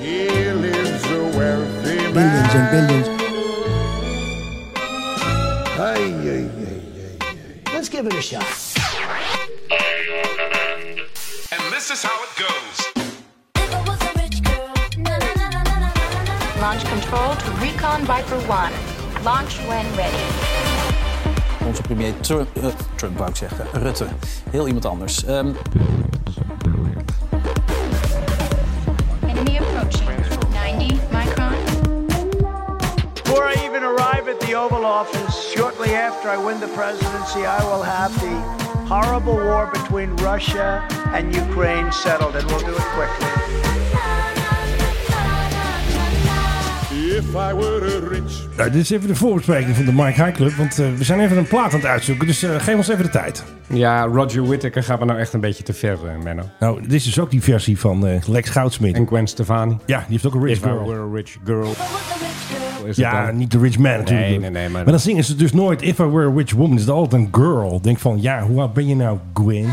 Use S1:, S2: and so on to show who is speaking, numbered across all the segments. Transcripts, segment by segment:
S1: Here lives a wealthy
S2: Billions and billions.
S1: Ai, ai, ai, ai.
S3: Let's give it a shot.
S4: And this is how it goes.
S5: If I was a rich girl, na na na na na na na na na.
S6: Launch control to Recon Viper 1. Launch when ready.
S7: Onze premier Trump, eh, Trump wou ik zeggen, Rutte. Heel iemand anders. Ehm,
S6: Enemy approaching. 90 micron.
S3: Before I even arrive at the Oval Office, shortly after I win the presidency, I will have the horrible war between Russia and Ukraine settled, and we'll do it quickly.
S1: If I were a rich
S8: Nou, dit is even de voorbespreking van de Mike High Club. Want eh, we zijn even een plaat aan het uitzoeken. Dus eh, geef ons even de tijd.
S9: Ja, Roger Whittaker gaat we nou echt een beetje te ver, eh, Menno.
S8: Nou, dit is dus ook die versie van eh, Lex Goudsmit.
S9: En Gwen Stefani.
S8: Ja, die heeft ook een Rich
S9: If I
S8: Girl.
S9: were a rich girl. Is
S8: Ja,
S9: het dan?
S8: niet de rich man natuurlijk.
S9: Nee, nee, nee, maar-
S8: dan zingen ze dus nooit If I Were a Rich Woman. Is dat altijd een girl. Denk van, ja, hoe oud ben je nou, Gwen?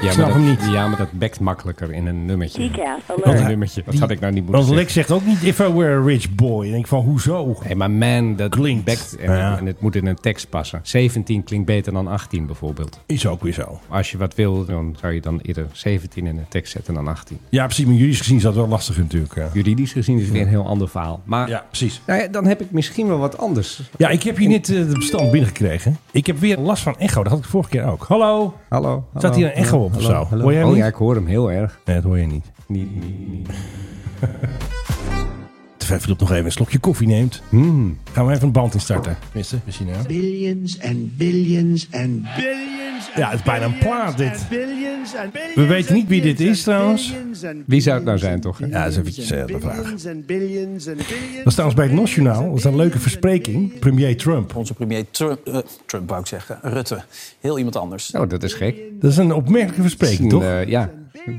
S9: ja,
S8: snap
S9: maar
S8: hem
S9: dat-
S8: niet.
S9: Ja, maar dat bekt makkelijker in een nummertje.
S8: Want
S9: In een
S8: hij-
S9: nummertje. Dat
S8: die-
S9: had ik nou niet moeten
S8: Want
S9: zeggen.
S8: Lex zegt ook niet If I Were a Rich Boy. Ik Denk van, hoezo?
S9: Nee, maar man, dat
S8: Klinkt.
S9: bekt. En,
S8: Ja.
S9: en het moet in een tekst passen. 17 klinkt beter dan 18 bijvoorbeeld.
S8: Is ook weer zo.
S9: Als je wat wil, dan zou je dan eerder 17 in een tekst zetten dan 18.
S8: Ja, precies. Maar juridisch gezien is dat wel lastig natuurlijk. eh. hè.
S9: Juridisch gezien is het weer een heel ander verhaal. Maar
S8: Ja, precies.
S9: nou ja, dan heb ik misschien wel wat anders.
S8: Ja, ik heb hier net eh, het bestand binnengekregen. Ik heb weer last van echo. Dat had ik vorige keer ook. Hallo?
S9: Hallo.
S8: Zat hier een echo op of zo? Hoor jij hem
S9: Oh ja,
S8: niet?
S9: ik hoor hem heel erg.
S8: Nee, dat hoor je niet.
S9: Niet, niet, niet.
S8: Terwijl Filip nog even een slokje koffie neemt. Hmm. Gaan we even een band instarten. Tenminste, misschien hè?
S3: Billions and billions and
S8: Ja, het is bijna een plaat dit.
S3: billions and billions.
S8: We weten niet wie dit is trouwens.
S9: Wie zou het nou zijn, toch? hè?
S8: Ja, dat is eventjes eh, de vraag.
S3: Billions and billions and billions.
S8: Dat is trouwens bij het Nationaal. Dat is een leuke verspreking. Premier Trump.
S7: onze premier Trump, eh, Trump wou ik zeggen, Rutte. Heel iemand anders.
S9: Nou, dat is gek.
S8: Dat is een opmerkelijke verspreking, toch?
S9: Eh, ja,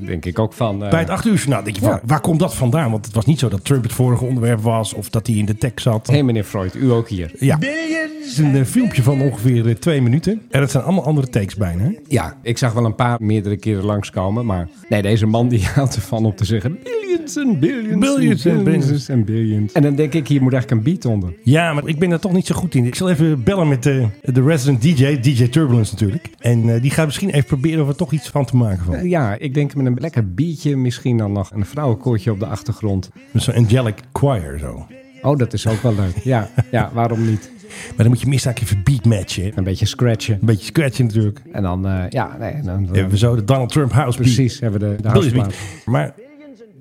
S9: denk ik ook van. eh,
S8: Bij het acht uur journaal denk je,
S9: Ja.
S8: waar, waar komt dat vandaan? Want het was niet zo dat Trump het vorige onderwerp was... of dat hij in de tekst zat.
S9: Hé, meneer Freud, u ook hier.
S8: Ja, het is een eh, filmpje van ongeveer eh, twee minuten. En dat zijn allemaal andere takes bijna. hè?
S9: Ja, ik zag wel een paar meerdere keren langskomen. Maar nee, deze man die houdt ervan om te zeggen... Billions and billions.
S8: Billions and billions.
S9: and billions. En dan denk ik, hier moet eigenlijk een beat onder.
S8: Ja, maar ik ben daar toch niet zo goed in. Ik zal even bellen met eh, de resident DJ, DJ Turbulence natuurlijk. En eh, die gaat misschien even proberen of er toch iets van te maken van.
S9: Eh, Ja, ik denk met een lekker beatje. Misschien dan nog een vrouwenkoortje op de achtergrond.
S8: Met zo'n angelic choir zo.
S9: Oh, dat is ook wel leuk. Ja, ja waarom niet?
S8: Maar dan moet je minstens even beatmatchen. hè. Een
S9: Een beetje scratchen.
S8: beetje scratchen natuurlijk.
S9: En dan, eh, ja, nee. Dan,
S8: Dan hebben we zo de Donald Trump House beat.
S9: precies, hebben we de, de
S8: Billions
S9: houseplaat.
S8: beat. Maar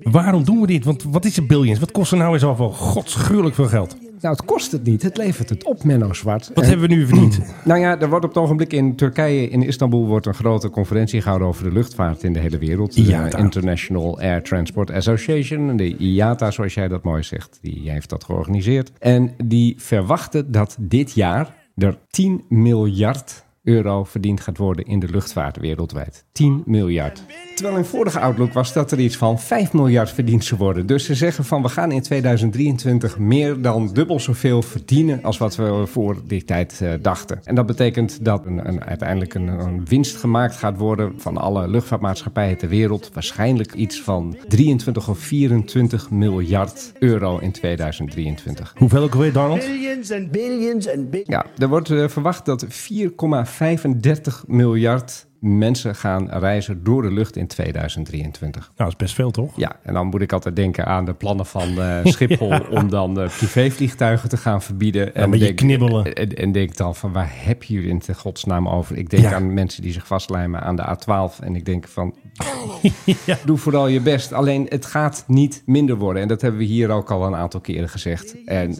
S8: waarom doen we dit? Want wat is de billions? Wat kost er nou eens al wel godschuwelijk veel geld?
S9: Nou, het kost het niet. Het levert het op, Menno Zwart.
S8: Wat
S9: En-
S8: hebben we nu verdiend?
S9: Nou ja, er wordt op het ogenblik in Turkije, in Istanbul, wordt een grote conferentie gehouden over de luchtvaart in de hele wereld. De
S8: IATA.
S9: International Air Transport Association, de IATA zoals jij dat mooi zegt, die heeft dat georganiseerd. En die verwachten dat dit jaar er 10 miljard euro verdiend gaat worden in de luchtvaart wereldwijd. 10 miljard. Terwijl in vorige Outlook was dat er iets van 5 miljard verdiend zou worden. Dus ze zeggen van we gaan in 2023 meer dan dubbel zoveel verdienen als wat we voor die tijd eh, dachten. En dat betekent dat een, een, uiteindelijk een, een winst gemaakt gaat worden van alle luchtvaartmaatschappijen ter wereld. Waarschijnlijk iets van 23 of 24 miljard euro in 2023.
S8: Hoeveel ook alweer, Donald?
S3: Billions and billions and billions.
S9: Ja, er wordt eh, verwacht dat 4,35 miljard mensen gaan reizen door de lucht in 2023.
S8: Nou, dat is best veel toch?
S9: Ja, en dan moet ik altijd denken aan de plannen van eh, Schiphol om dan eh, privévliegtuigen te gaan verbieden.
S8: een beetje
S9: denk-
S8: knibbelen.
S9: En, en denk dan van waar heb jullie in de godsnaam over? Ik denk
S8: Ja.
S9: aan mensen die zich vastlijmen aan de A12 en ik denk van doe vooral je best. Alleen het gaat niet minder worden en dat hebben we hier ook al een aantal keren gezegd. En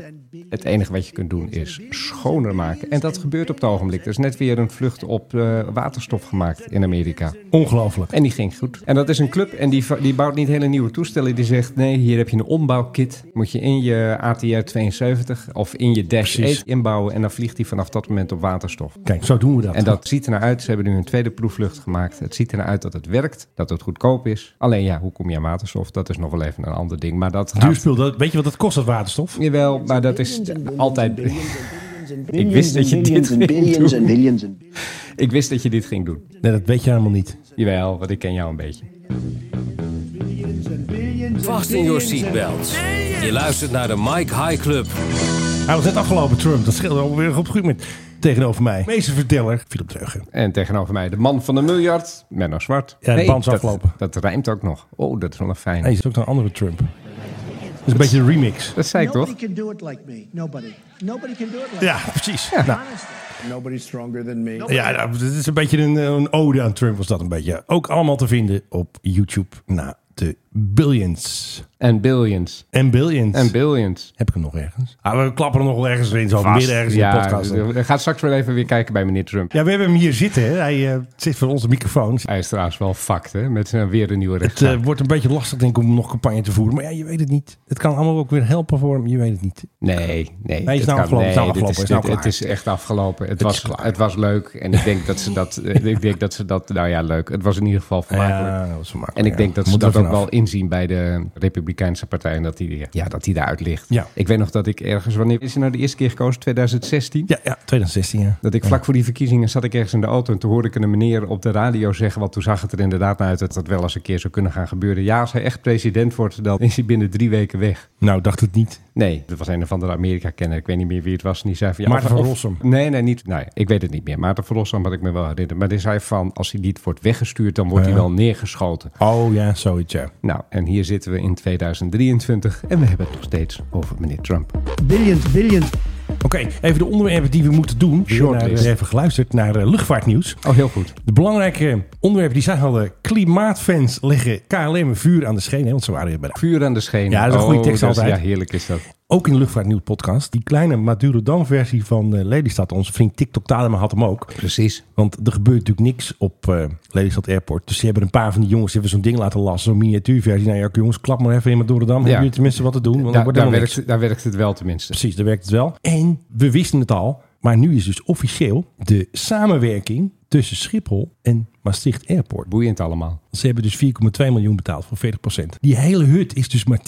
S9: het enige wat je kunt doen is schoner maken en dat gebeurt op het ogenblik. Er is net weer een vlucht op eh, waterstof gemaakt in Amerika.
S8: Ongelooflijk.
S9: En die ging goed. En dat is een club en die, va- die bouwt niet hele nieuwe toestellen. Die zegt, nee, hier heb je een ombouwkit. Moet je in je ATR 72 of in je Dash
S8: Precies.
S9: 8 inbouwen. En dan vliegt die vanaf dat moment op waterstof.
S8: Kijk, zo doen we dat.
S9: En dat ziet er naar uit. Ze hebben nu een tweede proefvlucht gemaakt. Het ziet er naar uit dat het werkt. Dat het goedkoop is. Alleen ja, hoe kom je aan waterstof? Dat is nog wel even een ander ding. Maar dat
S3: Nou.
S8: Duur
S9: gaat...
S8: spul, dat, weet je wat dat kost, dat waterstof?
S9: Jawel, maar dat is altijd... Ik wist dat je dit
S3: Billions
S9: ging
S3: and billions and
S9: doen.
S3: billions and
S9: Ik wist dat je dit ging doen.
S8: Nee, dat weet je helemaal niet.
S9: Jawel, want ik ken jou een beetje.
S3: billions and billions
S2: Vast in your seatbelts. Je luistert naar de Mike High Club.
S8: Hij was net afgelopen, Trump. Dat scheelde alweer op goed moment. Tegenover mij, meesterverteller Philip Dreugen.
S9: En tegenover mij de man van de miljard, Menno Zwart.
S8: Ja, de band is
S9: dat,
S8: afgelopen.
S9: Dat rijmt ook nog. Oh, dat is wel een fijn.
S8: En je zit ook naar een andere Trump. Dat is een beetje een remix.
S9: Dat zei ik toch?
S10: Nobody can do it like me. Nobody. Nobody can do it like me.
S8: Ja, precies. Nou,
S10: Nobody's stronger than me.
S8: ja, nou, dit is een beetje een, een ode aan Trump was dat een beetje. Ook allemaal te vinden op YouTube na de Billions.
S9: En billions.
S8: En Billions.
S9: En billions.
S8: Heb ik hem nog ergens? Ah, we klappen er nog wel ergens in, zo
S9: Vast.
S8: midden ergens in de
S9: ja,
S8: podcast.
S9: we gaan straks wel even weer kijken bij meneer Trump.
S8: Ja, we hebben hem hier zitten. Hè. Hij eh, zit voor onze microfoons.
S9: Hij is trouwens wel fucked, hè? Met zijn weer een nieuwe
S8: Het eh,
S9: rechtszaak.
S8: wordt een beetje lastig, denk ik, om nog campagne te voeren. Maar ja, je weet het niet. Het kan allemaal ook weer helpen voor hem. Je weet het niet.
S9: nee, nee.
S8: Hij
S9: dat
S8: is nou
S9: kan-
S8: afgelopen, is nou
S9: dit
S8: afgelopen, is nou
S9: dit-
S8: klaar.
S9: het is echt afgelopen. Het,
S8: is
S9: was,
S8: klaar.
S9: het was leuk. En ik denk dat ze dat... eh, ik denk dat ze dat... Nou ja, leuk. Het was in ieder geval vermakelijk.
S8: dat was
S9: En
S8: vermakelijk,
S9: ik
S8: ja.
S9: denk dat ze
S8: Moet
S9: dat
S8: er
S9: ook
S8: vanaf.
S9: wel inzien bij de Republikeinse partij. En dat die, ja, dat die daaruit ligt.
S8: Ja.
S9: Ik weet nog dat ik ergens... Wanneer is hij nou de eerste keer gekozen? 2016?
S8: Ja, ja, 2016, ja.
S9: Dat ik vlak voor die verkiezingen zat ik ergens in de auto en toen hoorde ik een meneer op de radio zeggen, want toen zag het er inderdaad naar uit dat dat wel eens een keer zou kunnen gaan gebeuren. Ja, als hij echt president wordt, dan is hij binnen drie weken weg.
S8: Nou, dacht het niet.
S9: Nee, dat was een of andere Amerika-kenner, ik weet niet meer wie het was. En die zei van, ja,
S8: Maarten
S9: of-
S8: van
S9: of-
S8: Rossum.
S9: Nee, nee, niet. Nou ja, ik weet het niet meer. Maarten van Rossum had ik me wel herinnerd. Maar die zei van, als hij niet wordt weggestuurd, dan wordt hij wel neergeschoten.
S8: Oh ja, zoiets, ja.
S9: Nou, en hier zitten we in 2023 en we hebben het nog steeds over meneer Trump.
S10: Billions, billions.
S8: Oké, even de onderwerpen die we moeten doen. We hebben naar,
S9: Shortlist.
S8: eh, even geluisterd naar eh, luchtvaartnieuws.
S9: Oh, heel goed.
S8: De belangrijke onderwerpen die zij hadden. Klimaatfans leggen KLM vuur aan de schenen. hè, Want ze waren weer bij de...
S9: Vuur aan de schenen.
S8: Ja, dat is een goede
S9: Oh,
S8: tekst
S9: dat is-
S8: altijd.
S9: Ja, heerlijk is dat.
S8: Ook in de luchtvaartnieuws podcast. Die kleine Madurodam-versie van eh, Lelystad. Onze vriend TikTok Tadema had hem ook.
S9: Precies.
S8: Want er gebeurt natuurlijk niks op eh Lelystad Airport. Dus ze hebben een paar van die jongens die hebben zo'n ding laten lassen. Zo'n miniatuurversie. Nou ja, jongens, klap maar even in Madurodam. Hebben jullie tenminste wat te doen? Want dan
S9: Daar,
S8: wordt
S9: daar,
S8: helemaal niks.
S9: werkt, daar werkt het wel tenminste.
S8: Precies, daar werkt het wel. En we wisten het al, maar nu is dus officieel de samenwerking tussen Schiphol en Maastricht Airport.
S9: Boeiend allemaal.
S8: Ze hebben dus 4,2 miljoen betaald voor 40%. Die hele hut is dus maar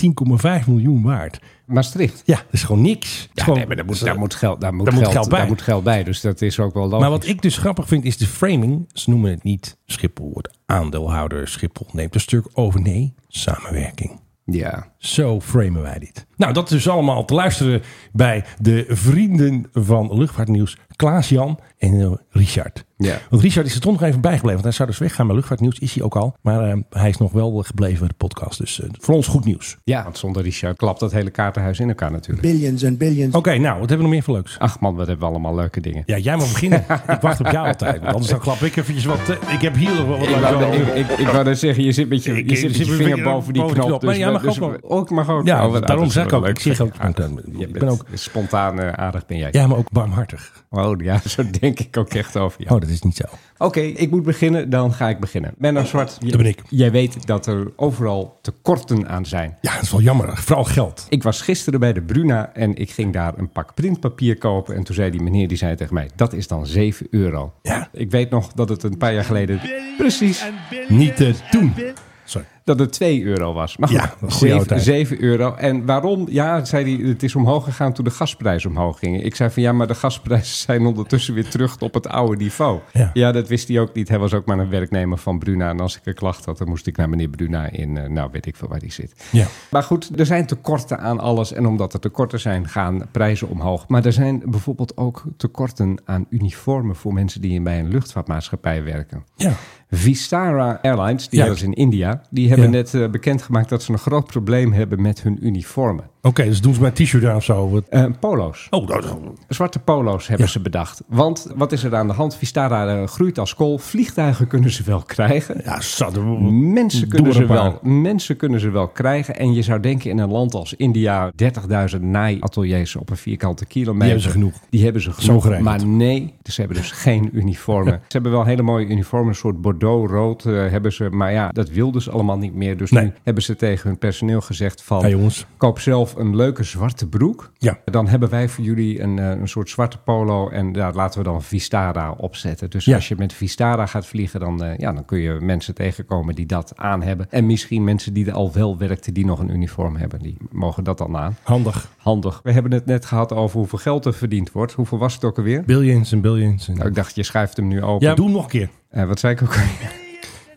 S8: 10,5 miljoen waard.
S9: Maastricht.
S8: Ja, dat is gewoon niks. Dat is
S9: Ja,
S8: gewoon-
S9: nee, maar daar moet,
S8: dat is-
S9: daar moet geld, daar moet
S8: daar moet
S9: geld,
S8: geld bij.
S9: Daar moet geld bij, dus dat is ook wel logisch.
S8: Maar wat ik dus grappig vind is de framing. Ze noemen het niet Schiphol wordt aandeelhouder. Schiphol neemt een stuk over. Nee, samenwerking.
S9: Ja,
S8: Zo framen wij dit. Nou, dat is dus allemaal te luisteren bij de vrienden van Luchtvaartnieuws. Klaas-Jan en eh, Richard.
S9: Ja.
S8: Want Richard is er toch nog even bijgebleven. Want hij zou dus weggaan, maar Luchtvaartnieuws is hij ook al. Maar eh, hij is nog wel gebleven bij de podcast. Dus eh, voor ons goed nieuws.
S9: ja, want zonder Richard klapt dat hele kaartenhuis in elkaar natuurlijk.
S10: Billions and billions.
S8: Oké, nou, wat hebben we nog meer voor leuks?
S9: Ach man, wat hebben we allemaal leuke dingen.
S8: Ja, jij mag beginnen. ik wacht op jou altijd. Want anders dan klap ik eventjes wat. eh, ik heb hier nog wel wat
S9: Ik
S8: leuks
S9: wou,
S8: over.
S9: ik, ik, ik wou net zeggen, je zit met je,
S8: Ik-
S9: je, zit
S8: ik
S9: met
S8: zit
S9: je
S8: met
S9: vinger
S8: mijn-
S9: boven die
S8: boven die
S9: knop.
S8: knop. Nee, jij mag
S9: dus,
S8: ook wel.
S9: ook mag ook.
S8: Ja,
S9: Oh, wat-
S8: daarom
S9: dat
S8: zeg ik
S9: wel
S8: ook.
S9: leuk.
S8: Ik zeg ook.
S9: Je
S8: Ik ben
S9: bent
S8: ook.
S9: spontaan eh, aardig ben jij.
S8: Ja, maar ook barmhartig.
S9: Oh ja, zo denk ik ook echt over jou.
S8: Oh, dat is niet zo.
S9: Oké, ik moet beginnen, dan ga ik beginnen. Menno Zwart,
S8: Dat ben ik.
S9: jij weet dat er overal tekorten aan zijn.
S8: Ja, dat is wel jammer. Vooral geld.
S9: Ik was gisteren bij de Bruna en ik ging daar een pak printpapier kopen. En toen zei die meneer, die zei tegen mij, dat is dan 7 euro.
S8: Ja.
S9: Ik weet nog dat het een paar jaar geleden precies
S8: Niet te doen. Sorry.
S9: dat het 2 euro was. Maar goed,
S8: Ja, dat was goede oude
S9: 7,
S8: tijd.
S9: euro. En waarom? Ja, zei hij, het is omhoog gegaan toen de gasprijzen omhoog gingen. Ik zei van ja, maar de gasprijzen zijn ondertussen weer terug op het oude niveau.
S8: Ja.
S9: dat wist hij ook niet. Hij was ook maar een werknemer van Bruna. En als ik een klacht had, dan moest ik naar meneer Bruna in, eh, nou weet ik veel waar die zit.
S8: Ja.
S9: Maar goed, er zijn tekorten aan alles. En omdat er tekorten zijn, gaan prijzen omhoog. Maar er zijn bijvoorbeeld ook tekorten aan uniformen voor mensen die bij een luchtvaartmaatschappij werken.
S8: Ja.
S9: Vistara Airlines, die
S8: Ja.
S9: dat is in India, die hebben
S8: Ja.
S9: net eh, bekendgemaakt dat ze een groot probleem hebben met hun uniformen.
S8: Oké, dus doen ze maar een t-shirt aan of zo. Wat-
S9: Eh, polo's.
S8: Oh, dat is-
S9: Zwarte polo's hebben
S8: Ja.
S9: ze bedacht. Want wat is er aan de hand? Vistara eh, groeit als kool. Vliegtuigen kunnen ze wel krijgen.
S8: Ja, zat. Mm, Doe
S9: Mensen kunnen,
S8: er
S9: ze
S8: een paar.
S9: wel, mensen kunnen ze wel krijgen. En je zou denken in een land als India... 30.000 naaiateliers op een vierkante kilometer.
S8: Die hebben ze genoeg.
S9: Die hebben ze genoeg.
S8: geregeld.
S9: maar nee, ze hebben dus geen uniformen. Ze hebben wel hele mooie uniformen. Een soort bordeaux-rood eh, hebben ze. Maar ja, dat wilden ze allemaal niet meer. Dus
S8: Nee.
S9: nu hebben ze tegen hun personeel gezegd van...
S8: Ja, jongens.
S9: Koop zelf een leuke zwarte broek.
S8: Ja.
S9: Dan hebben wij voor jullie een, eh, een soort zwarte polo. En daar laten we dan Vistara opzetten. Dus
S8: Ja.
S9: als je met Vistara gaat vliegen, dan, eh, ja, dan kun je mensen tegenkomen die dat aan hebben. En misschien mensen die er al wel werkten, die nog een uniform hebben. Die mogen dat dan aan.
S8: Handig.
S9: Handig. We hebben het net gehad over hoeveel geld er verdiend wordt. Hoeveel was het ook alweer?
S8: Billions en billions. En...
S9: Nou, ik dacht, je schuift hem nu open.
S8: ja, doe hem nog een keer.
S9: Eh, wat zei ik ook? alweer?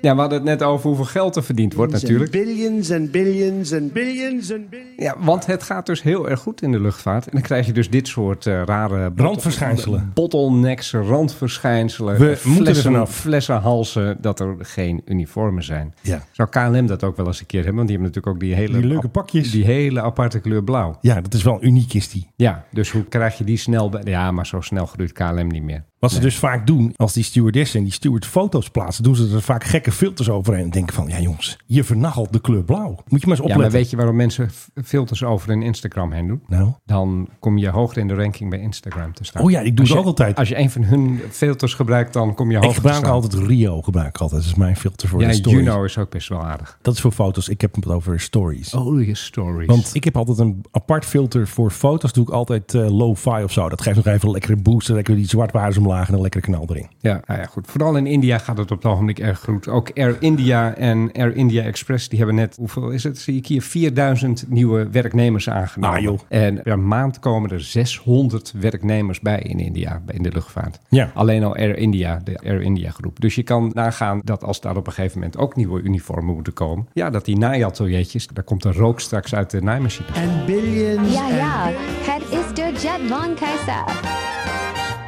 S9: Ja, we hadden het net over hoeveel geld er verdiend wordt
S10: and
S9: natuurlijk.
S10: billions and billions and billions and billions.
S9: Ja, want het gaat dus heel erg goed in de luchtvaart. En dan krijg je dus dit soort eh, rare... bot-
S8: Randverschijnselen.
S9: Bottlenecks, randverschijnselen. eh,
S8: We moeten er
S9: flessen,
S8: vanaf.
S9: flessenhalzen, dat er geen uniformen zijn.
S8: Ja.
S9: Zou KLM dat ook wel eens een keer hebben? Want die hebben natuurlijk ook die hele...
S8: Die leuke
S9: ap-
S8: pakjes.
S9: Die hele aparte kleur blauw.
S8: Ja, dat is wel uniek is die.
S9: Ja, dus hoe krijg je die snel... bij- Ja, maar zo snel groeit KLM niet meer.
S8: Wat ze dus vaak doen, als die stewardessen en die steward foto's plaatsen, doen ze er vaak gekke filters overheen. En denken van, ja jongens, je vernachelt de kleur blauw. Moet je maar eens
S9: Ja,
S8: opletten.
S9: maar weet je waarom mensen f- filters over hun Instagram heen doen?
S8: Nou,
S9: Dan kom je hoger in de ranking bij Instagram te staan.
S8: Oh ja, ik doe
S9: Als
S8: het
S9: je-
S8: ook altijd.
S9: Als je een van hun filters gebruikt, dan kom je hoger
S8: ik
S9: te
S8: gebruik
S9: staan.
S8: altijd Rio, gebruik ik altijd. Dat is mijn filter voor
S9: Ja,
S8: de stories.
S9: Juno is ook best wel aardig.
S8: Dat is voor foto's. Ik heb het over stories.
S9: Oh, je stories.
S8: Want ik heb altijd een apart filter voor foto's. Doe ik altijd eh low-fi of zo. Dat geeft nog even een lekkere boost. Dan lekker die zwartwaardes omlaag en een lekkere knal erin.
S9: ja, nou ja, goed. Vooral in India gaat het op het ogenblik erg goed. Ook Air India en Air India Express, die hebben net, hoeveel is het? Zie ik hier, 4000 nieuwe werknemers aangenomen.
S8: Ah, joh.
S9: En per maand komen er 600 werknemers bij in India, in de luchtvaart.
S8: Ja.
S9: Alleen al Air India, de Air India groep. Dus je kan nagaan dat als daar op een gegeven moment ook nieuwe uniformen moeten komen. Ja, dat die naaiateliers, daar komt een rook straks uit de naaimachine.
S10: And billions.
S11: Ja, ja.
S10: And
S11: Het is de Jet van Kaiser.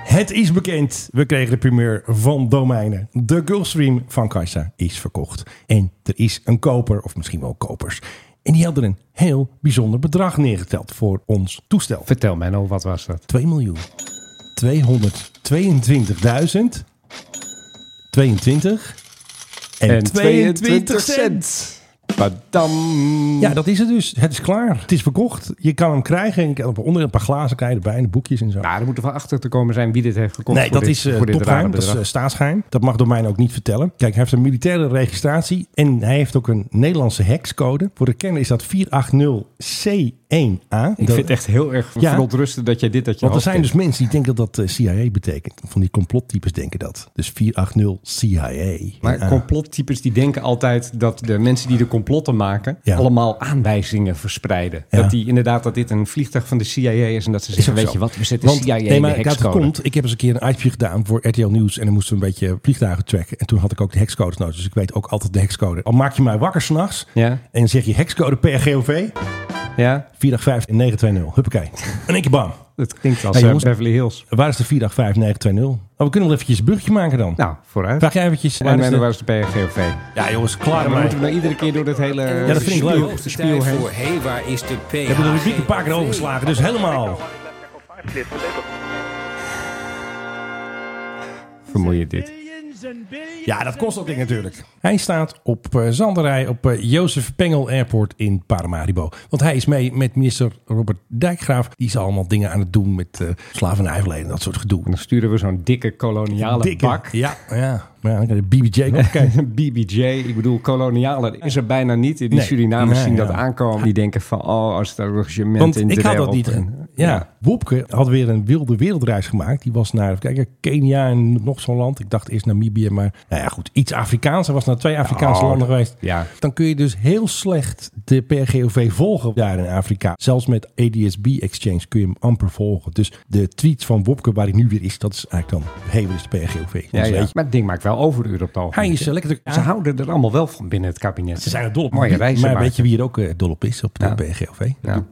S8: Het is bekend. We kregen de primeur van domeinen. De Gulfstream van Kajsa is verkocht. En er is een koper, of misschien wel kopers. En die hadden een heel bijzonder bedrag neergeteld voor ons toestel.
S9: Vertel mij nou, wat was dat?
S8: 2 miljoen 222.000 22 en, 22 cent.
S9: Padam.
S8: Ja, dat is het dus. Het is klaar. Het is verkocht. Je kan hem krijgen. Je kan op onder een paar glazen krijgen, erbij, en boekjes en zo.
S9: Nou, er moet er wel achter te komen zijn wie dit heeft gekocht.
S8: Nee,
S9: voor
S8: dat
S9: dit-
S8: is eh,
S9: voor dit rare
S8: topgeheim. Dat is
S9: bedrag.
S8: eh, staatsgeheim. Dat mag door mij nou ook niet vertellen. Kijk, hij heeft een militaire registratie en hij heeft ook een Nederlandse hexcode. Voor de kenner is dat 480C1A.
S9: ik
S8: eh, Dat-
S9: vind het echt heel erg
S8: Ja.
S9: verontrustend dat jij dit dat je
S8: want er
S9: hoofd
S8: zijn dus
S9: kent.
S8: mensen die denken dat dat eh, CIA betekent. Van die complottypes denken dat. Dus 480 CIA.
S9: Maar complottypes die denken altijd dat de mensen die de complotten maken...
S8: Ja.
S9: allemaal aanwijzingen verspreiden.
S8: Ja.
S9: Dat die inderdaad dat dit een vliegtuig van de CIA is... en dat ze zeggen,
S8: ook
S9: weet
S8: zo.
S9: je wat, we zetten
S8: Want,
S9: CIA
S8: nee,
S9: in de
S8: maar dat
S9: hexcode.
S8: komt. Ik heb eens een keer een itemje gedaan voor RTL Nieuws. En dan moesten we een beetje vliegtuigen tracken. En toen had ik ook de hexcodes nodig. Dus ik weet ook altijd de hexcode. Al maak je mij wakker s'nachts.
S9: Ja.
S8: En zeg je hexcode PRGOV.
S9: Ja,
S8: 485-920. Huppakee. In één keer bam.
S9: dat klinkt als eh,
S8: Hey, jongens.
S9: Beverly Hills.
S8: Waar is de 485-920? Oh, we kunnen wel eventjes een brugje maken dan.
S9: Nou, vooruit.
S8: Vraag jij eventjes.
S9: en
S8: waar is de-
S9: waar is de PRGOV?
S8: Ja jongens, klaar
S9: Dan
S8: maar.
S9: moeten we nou iedere keer door dit hele...
S8: Ja, dat vind ik leuk.
S9: De spiegel heen.
S2: voor, hé, waar is de P?
S8: We hebben de rubriek een paar keer overgeslagen. Dus helemaal.
S9: Vermoeiend dit.
S10: billions and billions.
S8: Ja, dat kost dat ding natuurlijk. Hij staat op eh, Zanderij op eh, Jozef Pengel Airport in Paramaribo. Want hij is mee met minister Robert Dijkgraaf. Die is allemaal dingen aan het doen met eh slavernijverleden en dat soort gedoe.
S9: Dan sturen we zo'n dikke koloniale
S8: Dikke-
S9: bak.
S8: Ja, ja. Maar ja, de BBJ. komt kijken.
S9: BBJ, ik bedoel, koloniale is er bijna niet. Die
S8: Nee.
S9: Surinamers
S8: Nee,
S9: zien
S8: ja.
S9: dat aankomen. Die denken van, oh, als daar regiment
S8: Want
S9: in
S8: ik had dat
S9: dwelt
S8: niet.
S9: en-
S8: ja. Wopke had weer een wilde wereldreis gemaakt. Die was naar, even kijken, Kenia en nog zo'n land. Ik dacht eerst Namibië, maar nou ja, goed. Iets Afrikaans. Hij was naar twee Afrikaanse
S9: Oh,
S8: landen geweest.
S9: ja.
S8: Dan kun je dus heel slecht de PRGOV volgen daar in Afrika. Zelfs met ADSB Exchange kun je hem amper volgen. Dus de tweets van Wopke, waar hij nu weer is, dat is eigenlijk dan, hé, hey, wat is de PRGOV? Dan
S9: Ja,
S8: weet
S9: ja.
S8: je.
S9: Maar het ding maakt wel overuren op het ogenblik.
S8: Hij is eh, lekker druk.
S9: Ze houden er allemaal wel van binnen het kabinet.
S8: Ze zijn er dol op.
S9: Mooie reizen
S8: maar
S9: maken.
S8: weet je wie er ook eh, dol op is op de
S9: Ja.
S8: PRGOV?
S9: Ja.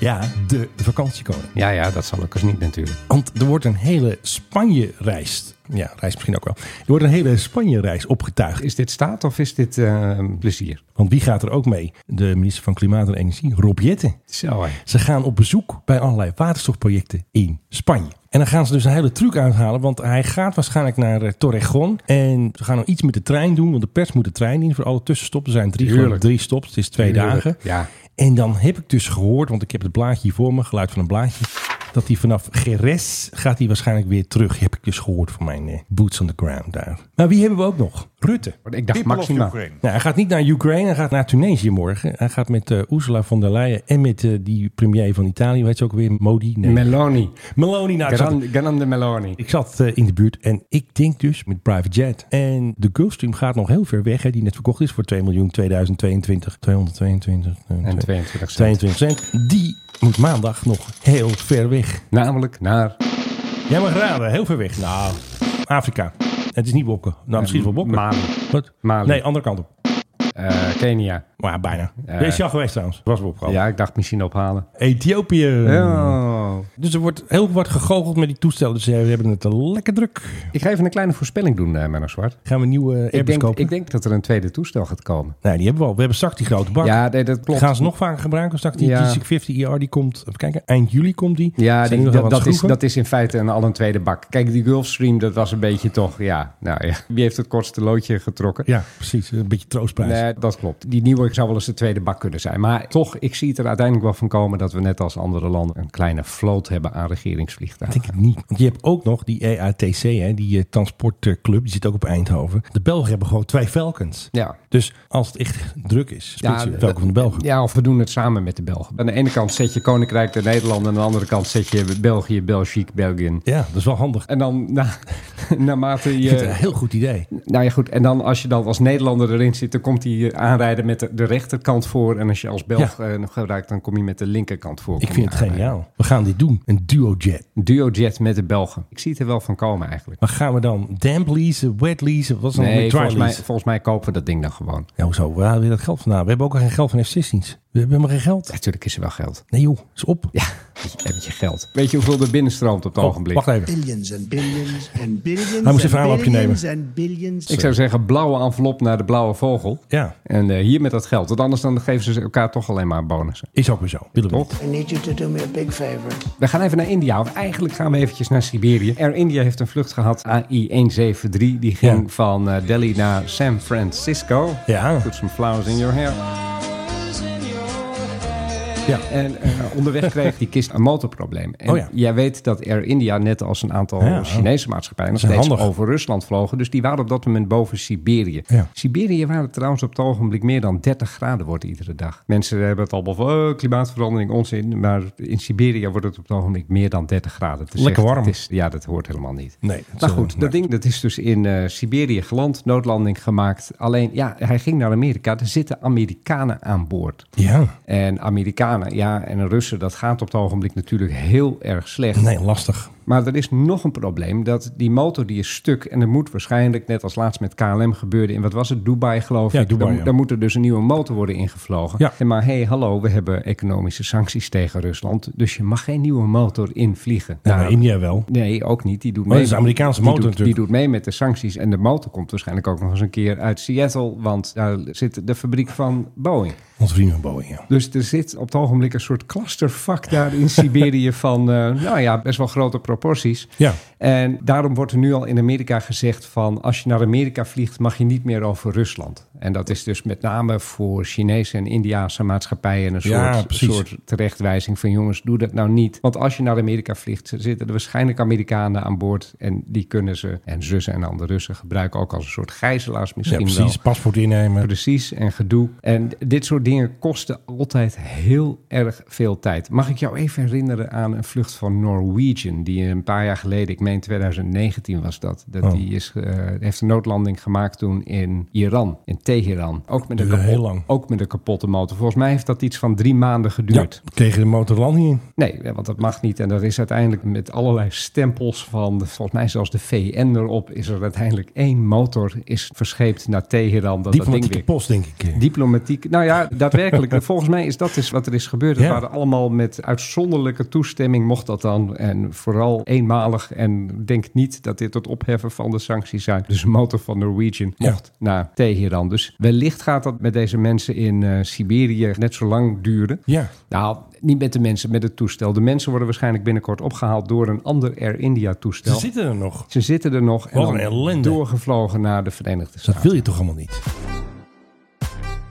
S8: Ja, de vakantiekoning.
S9: Ja, ja, dat zal ook eens niet natuurlijk.
S8: Want er wordt een hele Spanje-reis. Ja, reis misschien ook wel. Er wordt een hele Spanje-reis opgetuigd.
S9: Is dit staat of is dit eh, plezier?
S8: Want wie gaat er ook mee? De minister van Klimaat en Energie, Rob Jetten.
S9: Zo, hè.
S8: Ze gaan op bezoek bij allerlei waterstofprojecten in Spanje. En dan gaan ze dus een hele truc uithalen, want hij gaat waarschijnlijk naar eh, Torrejon. En ze gaan nog iets met de trein doen, want de pers moet de trein in voor alle tussenstoppen. Er zijn drie,
S9: Tuurlijk.
S8: gewoon drie stops, het is twee
S9: Tuurlijk,
S8: dagen.
S9: ja.
S8: En dan heb ik dus gehoord, want ik heb het blaadje hier voor me, geluid van een blaadje, dat hij vanaf Geres gaat hij waarschijnlijk weer terug. Heb ik dus gehoord van mijn eh, boots on the ground daar. Maar wie hebben we ook nog? Rutte.
S9: Ik dacht Maxima.
S8: Nou, hij gaat niet naar Oekraïne, hij gaat naar Tunesië morgen. Hij gaat met eh, Ursula von der Leyen en met eh, die premier van Italië, weet je ook weer, Modi? Nee.
S9: Meloni.
S8: Meloni. Nou, ik zat,
S9: Grande, grande Meloni.
S8: ik zat, eh, in de buurt en ik denk dus met private jet. En de Gulfstream gaat nog heel ver weg, hè, die net verkocht is voor 2 miljoen 2022. 222.
S9: En 22 cent.
S8: 22 cent. Die moet maandag nog heel ver weg.
S9: Namelijk naar...
S8: Jij mag raden, heel ver weg. Nou, Afrika. Het is niet Bokken. Nou, misschien is het wel Bokken.
S9: Mali.
S8: Wat?
S9: Mali.
S8: Nee, andere kant op.
S9: Eh, Kenia.
S8: Maar ja, bijna.
S9: Eh.
S8: Deze is je al geweest trouwens. Was Bokken.
S9: Ja, ik dacht misschien ophalen.
S8: Ethiopië.
S9: Oh.
S8: Dus er wordt heel wat gegoocheld met die toestellen. Dus eh, we hebben het lekker druk.
S9: Ik ga even een kleine voorspelling doen, eh Menno Zwart.
S8: Gaan we een nieuwe eh,
S9: Ik
S8: Airbus
S9: denk,
S8: kopen?
S9: ik denk dat er een tweede toestel gaat komen.
S8: Nee, die hebben we al. We hebben straks die grote bak.
S9: Ja, nee, dat klopt.
S8: Gaan ze nog vaker gebruiken? Of straks die
S9: Ja.
S8: G50 IR E die komt, even kijken, eind juli komt die.
S9: Ja,
S8: Zijn
S9: die-
S8: er nog
S9: dat,
S8: wel wat
S9: dat is,
S8: schroeven?
S9: dat is in feite een, al een tweede bak. Kijk, die Gulfstream, dat was een beetje toch, ja, nou ja. Wie heeft het kortste loodje getrokken?
S8: Ja, precies. Een beetje troostprijs.
S9: Nee, dat klopt. Die nieuwe zou wel eens de tweede bak kunnen zijn. Maar toch, ik zie het er uiteindelijk wel van komen dat we net als andere landen een kleine vloot hebben aan
S8: Ik
S9: regeringsvliegtuigen.
S8: denk het niet. Want je hebt ook nog die E EATC, hè, die eh, transportclub, die zit ook op Eindhoven. De Belgen hebben gewoon twee Falcons.
S9: Ja.
S8: Dus als het echt druk is, spits je
S9: d-
S8: Falcon van de Belgen.
S9: Ja, of we doen het samen met de Belgen. Aan de ene kant zet je Koninkrijk de Nederlanden, aan de andere kant zet je België, België, België.
S8: Ja, dat is wel handig.
S9: En dan na, naarmate
S8: Ik vind het
S9: je.
S8: een heel goed idee.
S9: Nou ja, goed. En dan als je dan als Nederlander erin zit, dan komt hij aanrijden met de, de rechterkant voor. En als je als Belg eh, nog gebruikt, dan kom je met de linkerkant voor.
S8: Ik
S9: Kom
S8: vind
S9: je
S8: het
S9: aanrijden.
S8: geniaal. Nou, We gaan dit doen. Een duojet.
S9: Een duojet met de Belgen. Ik zie het er wel van komen eigenlijk.
S8: Maar gaan we dan damp leasen, wet leasen? Wat is dan
S9: Nee,
S8: met dry
S9: volgens mij,
S8: leasen?
S9: volgens mij kopen we dat ding dan gewoon.
S8: Ja, hoezo? Waar halen we dat geld vandaan? We hebben ook al geen geld van F-16's. We hebben helemaal geen geld.
S9: Natuurlijk is er wel geld.
S8: Nee joh, is op.
S9: Ja, je hebt je geld. Weet je hoeveel er binnenstroomt op het
S8: Oh,
S9: ogenblik?
S8: wacht even.
S10: Billions and billions and billions.
S8: Hij moest
S10: and
S8: even een aanloopje
S10: billions and billions.
S9: Ik zou zeggen, blauwe envelop naar de blauwe vogel.
S8: Ja,
S9: En eh, hier met dat geld. Want anders dan geven ze elkaar toch alleen maar bonussen.
S8: is ook weer zo. Willen we
S9: Toch?
S8: niet.
S10: I need you to do me a big favor.
S9: We gaan even naar India. Of eigenlijk gaan we eventjes naar Siberië. Air India heeft een vlucht gehad. AI-173. Die ging
S8: Ja.
S9: van eh, Delhi naar San Francisco.
S8: Ja.
S9: Put some flowers in your hair.
S8: Ja.
S9: En eh, onderweg kreeg die kist een motorprobleem. En
S8: Oh ja.
S9: jij weet dat Air India, net als een aantal
S8: Ja.
S9: Chinese maatschappijen, nog
S8: Dat is
S9: steeds
S8: handig.
S9: over Rusland vlogen. Dus die waren op dat moment boven Siberië.
S8: Ja.
S9: Siberië waren trouwens op het ogenblik meer dan 30 graden wordt iedere dag. Mensen hebben het allemaal van eh, klimaatverandering, onzin. Maar in Siberië wordt het op het ogenblik meer dan 30 graden. Het is
S8: Lekker
S9: echt-
S8: warm.
S9: het is- ja, dat hoort helemaal niet.
S8: Nee, dat
S9: maar
S8: is,
S9: goed,
S8: eh,
S9: dat ding dat is dus in eh, Siberië geland, noodlanding gemaakt. Alleen, ja, hij ging naar Amerika. Er zitten Amerikanen aan boord.
S8: Ja,
S9: En Amerikanen, ja, en Russen, dat gaat op het ogenblik natuurlijk heel erg slecht.
S8: nee, lastig.
S9: Maar er is nog een probleem, dat die motor die is stuk en er moet waarschijnlijk, net als laatst met KLM gebeurde in, wat was het, Dubai geloof
S8: Ja,
S9: ik,
S8: Dubai,
S9: daar,
S8: ja.
S9: daar moet er dus een nieuwe motor worden ingevlogen.
S8: Ja.
S9: En maar hey, hallo, we hebben economische sancties tegen Rusland, dus je mag geen nieuwe motor invliegen.
S8: Ja, maar
S9: Nou,
S8: India wel.
S9: Nee, ook niet. Die doet
S8: Maar
S9: mee.
S8: dat is een Amerikaanse
S9: die
S8: motor
S9: doet,
S8: natuurlijk.
S9: Die doet mee met de sancties. En de motor komt waarschijnlijk ook nog eens een keer uit Seattle. Want daar zit de fabriek van Boeing.
S8: Onze vrienden van Boeing, ja.
S9: Dus er zit op het ogenblik een soort clusterfuck daar in Siberië van, eh, nou ja, best wel grote proporties.
S8: Ja.
S9: En daarom wordt er nu al in Amerika gezegd van, als je naar Amerika vliegt, mag je niet meer over Rusland. En dat is dus met name voor Chinese en Indiase maatschappijen een
S8: Ja,
S9: soort,
S8: precies.
S9: soort terechtwijzing van, jongens, doe dat nou niet. Want als je naar Amerika vliegt, zitten er waarschijnlijk Amerikanen aan boord en die kunnen ze, en zussen en andere Russen, gebruiken ook als een soort gijzelaars
S8: Ja,
S9: misschien wel.
S8: precies. Paspoort innemen.
S9: Precies, en gedoe. En dit soort dingen kosten altijd heel erg veel tijd. Mag ik jou even herinneren aan een vlucht van Norwegian, die een paar jaar geleden, ik meen 2019 was dat, dat
S8: Oh.
S9: die is, eh, heeft een noodlanding gemaakt toen in Iran, in Teheran. Ook met, een
S8: Duurde
S9: kapot-
S8: heel lang.
S9: ook met een kapotte motor. Volgens mij heeft dat iets van drie maanden
S8: Ja,
S9: geduurd.
S8: tegen de motor land niet in.
S9: Nee, eh, want dat mag niet. En dat is uiteindelijk met allerlei stempels van, volgens mij zelfs de VN erop, is er uiteindelijk één motor is verscheept naar Teheran. Dat dat ding
S8: Diplomatieke
S9: weer
S8: post, denk ik. eh.
S9: Diplomatiek. Nou ja, daadwerkelijk. Volgens mij is dat dus wat er is gebeurd. Het
S8: Ja.
S9: waren allemaal met uitzonderlijke toestemming mocht dat dan. En vooral eenmalig. En denk niet dat dit het opheffen van de sancties zijn. Dus de motor van Norwegian
S8: Ja.
S9: mocht naar Teheran. Dus wellicht gaat dat met deze mensen in eh, Siberië net zo lang duren.
S8: Ja.
S9: Nou, niet met de mensen, met het toestel. De mensen worden waarschijnlijk binnenkort opgehaald door een ander Air India
S8: Ze
S9: toestel.
S8: zitten er nog.
S9: Ze zitten er nog en
S8: Wat een
S9: dan
S8: ellende.
S9: doorgevlogen naar de Verenigde
S8: Dus dat
S9: Staten.
S8: wil je toch allemaal niet?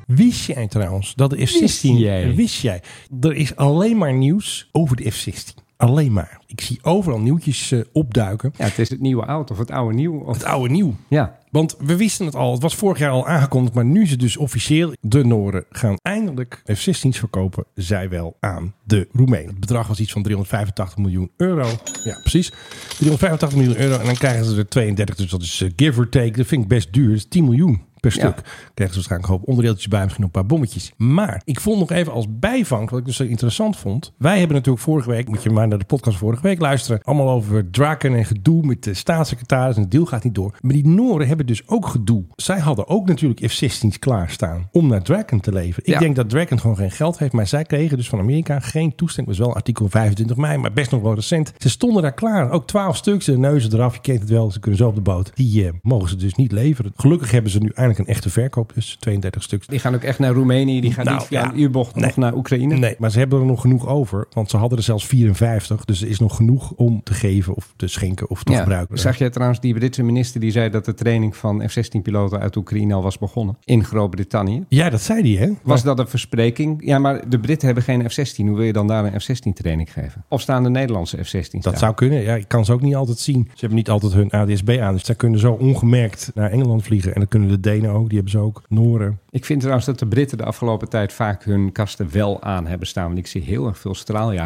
S8: Wist jij trouwens dat de F-16...
S9: Wist jij?
S8: Wist jij? Er is alleen maar nieuws over de F-16. Alleen maar. Ik zie overal nieuwtjes eh, opduiken.
S9: Ja, het is het nieuwe oud of het oude nieuw. Of...
S8: Het oude nieuw.
S9: Ja,
S8: Want we wisten het al, het was vorig jaar al aangekondigd, maar nu is het dus officieel. De Noren gaan eindelijk F-16's verkopen, zij wel, aan de Roemenen. Het bedrag was iets van 385 miljoen euro. Ja, precies. 385 miljoen euro en dan krijgen ze er 32, dus dat is eh, give or take. Dat vind ik best duur, dat is 10 miljoen per stuk. Krijgen ze waarschijnlijk een hoop onderdeeltjes bij, misschien nog een paar bommetjes. Maar ik vond nog even als bijvang, wat ik dus zo interessant vond. Wij hebben natuurlijk vorige week, moet je maar naar de podcast vorige week luisteren. Allemaal over draken en gedoe met de staatssecretaris. En het deal gaat niet door. Maar die Noren hebben dus ook gedoe. Zij hadden ook natuurlijk F-16's klaarstaan om naar Draken te leveren. Ik
S9: Ja.
S8: denk dat Draken gewoon geen geld heeft. Maar zij kregen dus van Amerika geen toestemming. was wel artikel 25 mei, maar best nog wel recent. Ze stonden daar klaar. Ook 12 stuks, de neuzen eraf. Je kent het wel, ze kunnen zo op de boot. Die eh, mogen ze dus niet leveren. Gelukkig hebben ze nu eindelijk een echte verkoop. Dus 32 stuks.
S9: Die gaan ook echt naar Roemenië. Die gaan
S8: Nou,
S9: niet via
S8: ja.
S9: een U-bocht nog naar Oekraïne.
S8: Nee, maar ze hebben er nog genoeg over. Want ze hadden er zelfs 54. Dus er is nog genoeg om te geven of te schenken of te gebruiken.
S9: Zag je trouwens die Britse minister die zei dat de training van F-16-piloten uit Oekraïne al was begonnen? In Groot-Brittannië.
S8: Ja, dat zei die, hè?
S9: Was dat een verspreking? Ja, maar de Britten hebben geen F-16. Hoe wil je dan daar een F-16-training geven? Of staan de Nederlandse F-16's
S8: Dat zou kunnen. Ja, ik kan ze ook niet altijd zien. Ze hebben niet altijd hun ADSB aan. Dus zij kunnen zo ongemerkt naar Engeland vliegen. En dat kunnen de Denen ook. Die hebben ze ook. Noren.
S9: Ik vind trouwens dat de Britten de afgelopen tijd vaak hun kasten wel aan hebben staan. Want ik zie heel erg veel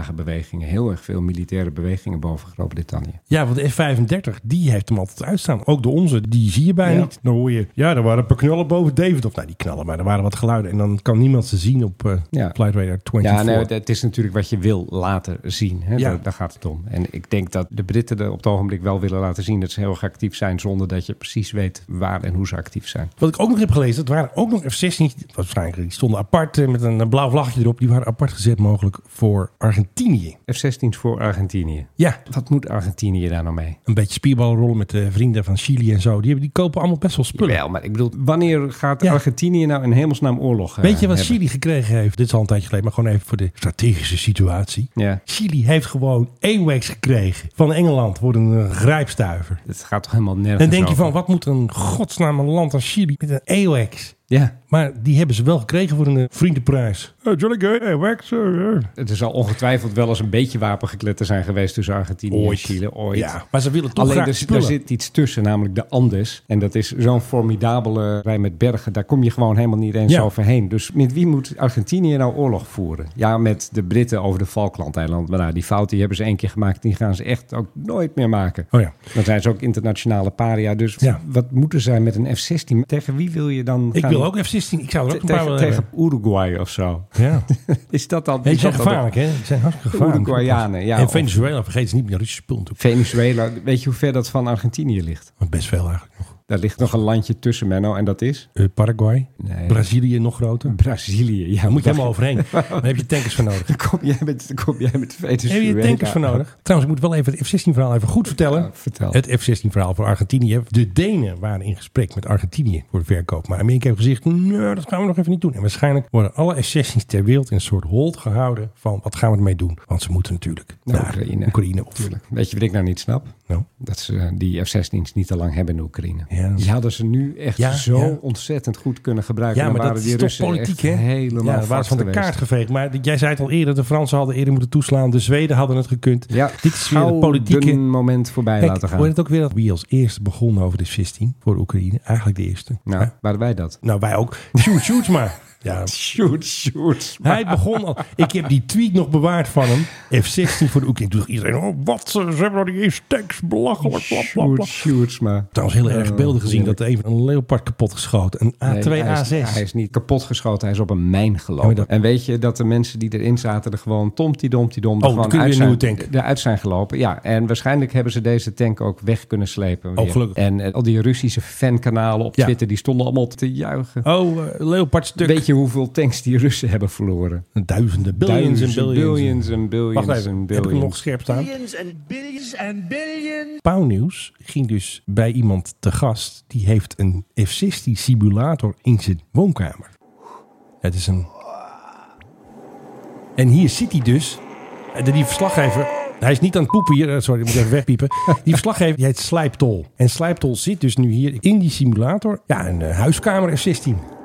S9: straaljagerbewegingen, heel erg veel militaire bewegingen boven Groot-Brittannië.
S8: Ja, want de F-35, die heeft hem altijd uitstaan. Ook de onze, die zie je bijna
S9: Ja.
S8: niet. Dan hoor je, ja, er waren een paar knallen boven Davidoff. Nou, die knallen, maar er waren wat geluiden. En dan kan niemand ze zien op eh
S9: Ja.
S8: Flight Radar 24.
S9: Ja, nee, het is natuurlijk wat je wil laten zien. Hè?
S8: Ja.
S9: Daar, daar gaat het om. En ik denk dat de Britten er op het ogenblik wel willen laten zien dat ze heel erg actief zijn, zonder dat je precies weet waar en hoe ze actief zijn.
S8: Wat ik ook nog heb gelezen, dat waren ook nog F-16's. Waarschijnlijk, die stonden apart eh, met een eh, blauw vlaggetje erop. Die waren apart gezet mogelijk voor Argentinië.
S9: F-16's voor Argentinië.
S8: Ja,
S9: Wat moet Argentinië daar nou mee?
S8: een beetje spierballen rollen met de vrienden van Chili en zo. Die, hebben, die kopen allemaal best wel spullen.
S9: Wel, maar ik bedoel, wanneer gaat
S8: Ja.
S9: Argentinië nou in hemelsnaam oorlog eh,
S8: Weet je wat
S9: hebben?
S8: Chili gekregen heeft? Dit is al een tijdje geleden, maar gewoon even voor de strategische situatie.
S9: Ja.
S8: Chili heeft gewoon AWACS gekregen van Engeland voor een eh, grijpstuiver.
S9: Het gaat toch helemaal nergens
S8: Dan denk je van,
S9: over?
S8: wat moet een godsnaam een land als Chili met een AWACS?
S9: Ja,
S8: Maar die hebben ze wel gekregen voor een eh, vriendenprijs. Eh, jolly good, AWACS. eh, eh.
S9: Het zal ongetwijfeld wel eens een beetje wapengekletter zijn geweest tussen Argentinië
S8: Ooit.
S9: en Chile. Ooit.
S8: Ja, maar ze willen toch
S9: Alleen
S8: graag
S9: er,
S8: die
S9: zit- er
S8: spullen.
S9: zit iets tussen, namelijk de Andes. En dat is zo'n formidabele rij met bergen. Daar kom je gewoon helemaal niet eens
S8: Ja.
S9: overheen. Dus met wie moet Argentinië nou oorlog voeren? Ja, met de Britten over de Falklandeilanden. Maar nou, die fout die hebben ze één keer gemaakt. Die gaan ze echt ook nooit meer maken.
S8: Oh ja.
S9: Dan zijn ze ook internationale paria. Dus
S8: Ja.
S9: wat moeten zij met een F-16? Tegen wie wil je dan
S8: Ik
S9: gaan?
S8: wil ook F-16. Ik zou er
S9: Te-
S8: ook een paar
S9: tegen,
S8: willen
S9: tegen
S8: hebben.
S9: Uruguay of zo.
S8: Ja.
S9: Is dat dan?
S8: Die
S9: is
S8: zijn
S9: dat dan de-
S8: gevaarlijk, hè? Die zijn hartstikke gevaarlijk.
S9: Uruguayanen, ja,
S8: En
S9: of-
S8: Venezuela, vergeet ze niet meer. Russische spullen natuurlijk.
S9: Venezuela, weet je hoe ver dat van Argentinië ligt?
S8: Maar Best veel eigenlijk nog.
S9: Daar ligt nog een landje tussen, Menno, en dat is?
S8: Eh, Paraguay.
S9: Nee.
S8: Brazilië nog groter.
S9: Brazilië. Ja,
S8: Daar moet je
S9: dat-
S8: helemaal overheen. Daar heb je tankers voor nodig.
S9: Dan kom jij met, dan kom jij met Venezuela.
S8: Heb je tankers voor nodig? Trouwens, ik moet wel even het F-16-verhaal even goed vertellen.
S9: Ja, vertel.
S8: Het F-16-verhaal voor Argentinië. De Denen waren in gesprek met Argentinië voor de verkoop. Maar Amerika heeft gezegd, nee, dat gaan we nog even niet doen. En waarschijnlijk worden alle F-16's ter wereld in een soort hold gehouden van wat gaan we ermee doen? Want ze moeten natuurlijk
S9: Naar
S8: naar
S9: Oekraïne.
S8: Oekraïne, Oekraïne op.
S9: Tuurlijk. Weet je wat ik nou niet snap?
S8: Nou,
S9: Dat ze eh, die F-16's niet te lang hebben in Oekraïne.
S8: Ja.
S9: Die hadden ze nu echt
S8: Ja,
S9: zo
S8: ja.
S9: ontzettend goed kunnen gebruiken.
S8: Ja,
S9: Dan
S8: maar dat
S9: waren die
S8: is toch
S9: Russen
S8: politiek,
S9: echt
S8: hè?
S9: helemaal
S8: ja, dat waren
S9: vast
S8: ze van de
S9: geweest.
S8: kaart geveegd. Maar jij zei het al eerder, de Fransen hadden eerder moeten toeslaan. De Zweden hadden het gekund.
S9: Ja,
S8: Dit is weer
S9: gauw
S8: de politieke...
S9: dun moment voorbij
S8: Kijk,
S9: laten
S8: hoor
S9: gaan.
S8: je het ook weer dat wie als eerste begon over de 16 voor Oekraïne? Eigenlijk de eerste.
S9: Nou, waren wij dat?
S8: Nou, wij ook. Shoot, shoot maar. Ja,
S9: Shoot, shoot.
S8: hij begon al. Ik heb die tweet nog bewaard van hem. F-16 voor de Oekraïne. Toen dacht iedereen, oh, wat, ze hebben nog niet eens tanks, belachelijk, bla, bla, bla.
S9: Shoot, shoot, maar...
S8: Trouwens, heel erg beelden gezien dat
S9: Oh, heerlijk.
S8: er even een leopard kapot geschoten. Een A2,
S9: Nee, hij is-
S8: A6.
S9: Hij is niet kapot geschoten, hij is op een mijn gelopen.
S8: Ja, maar dat-
S9: En weet je dat de mensen die erin zaten er gewoon tomtidom-tidom
S8: Oh,
S9: er gewoon
S8: dan kunnen
S9: uit
S8: we
S9: zijn,
S8: een nieuwe tank.
S9: eruit zijn gelopen. Ja, en waarschijnlijk hebben ze deze tank ook weg kunnen slepen. weer.
S8: Oh, gelukkig.
S9: En eh, al die Russische fankanalen op
S8: Ja.
S9: Twitter, die stonden allemaal te juichen.
S8: Oh, eh, leopard stuk.
S9: Weet je hoeveel tanks die Russen hebben verloren?
S8: Duizenden, billions en
S9: Duizenden,
S8: billions.
S9: billions en billions
S8: Wacht even,
S9: en
S8: heb ik hem
S9: billions.
S8: nog scherp staan?
S10: Billions and billions and billions.
S8: Pauwnieuws ging dus bij iemand te gast. Die heeft een F-16 simulator in zijn woonkamer. Het is een... En hier zit hij dus. En Die verslaggever... Hij is niet aan het poepen hier. Eh, Sorry, ik moet even wegpiepen. Die verslaggever die heet Slijptol. En Slijptol zit dus nu hier in die simulator. Ja, een eh, huiskamer F-16.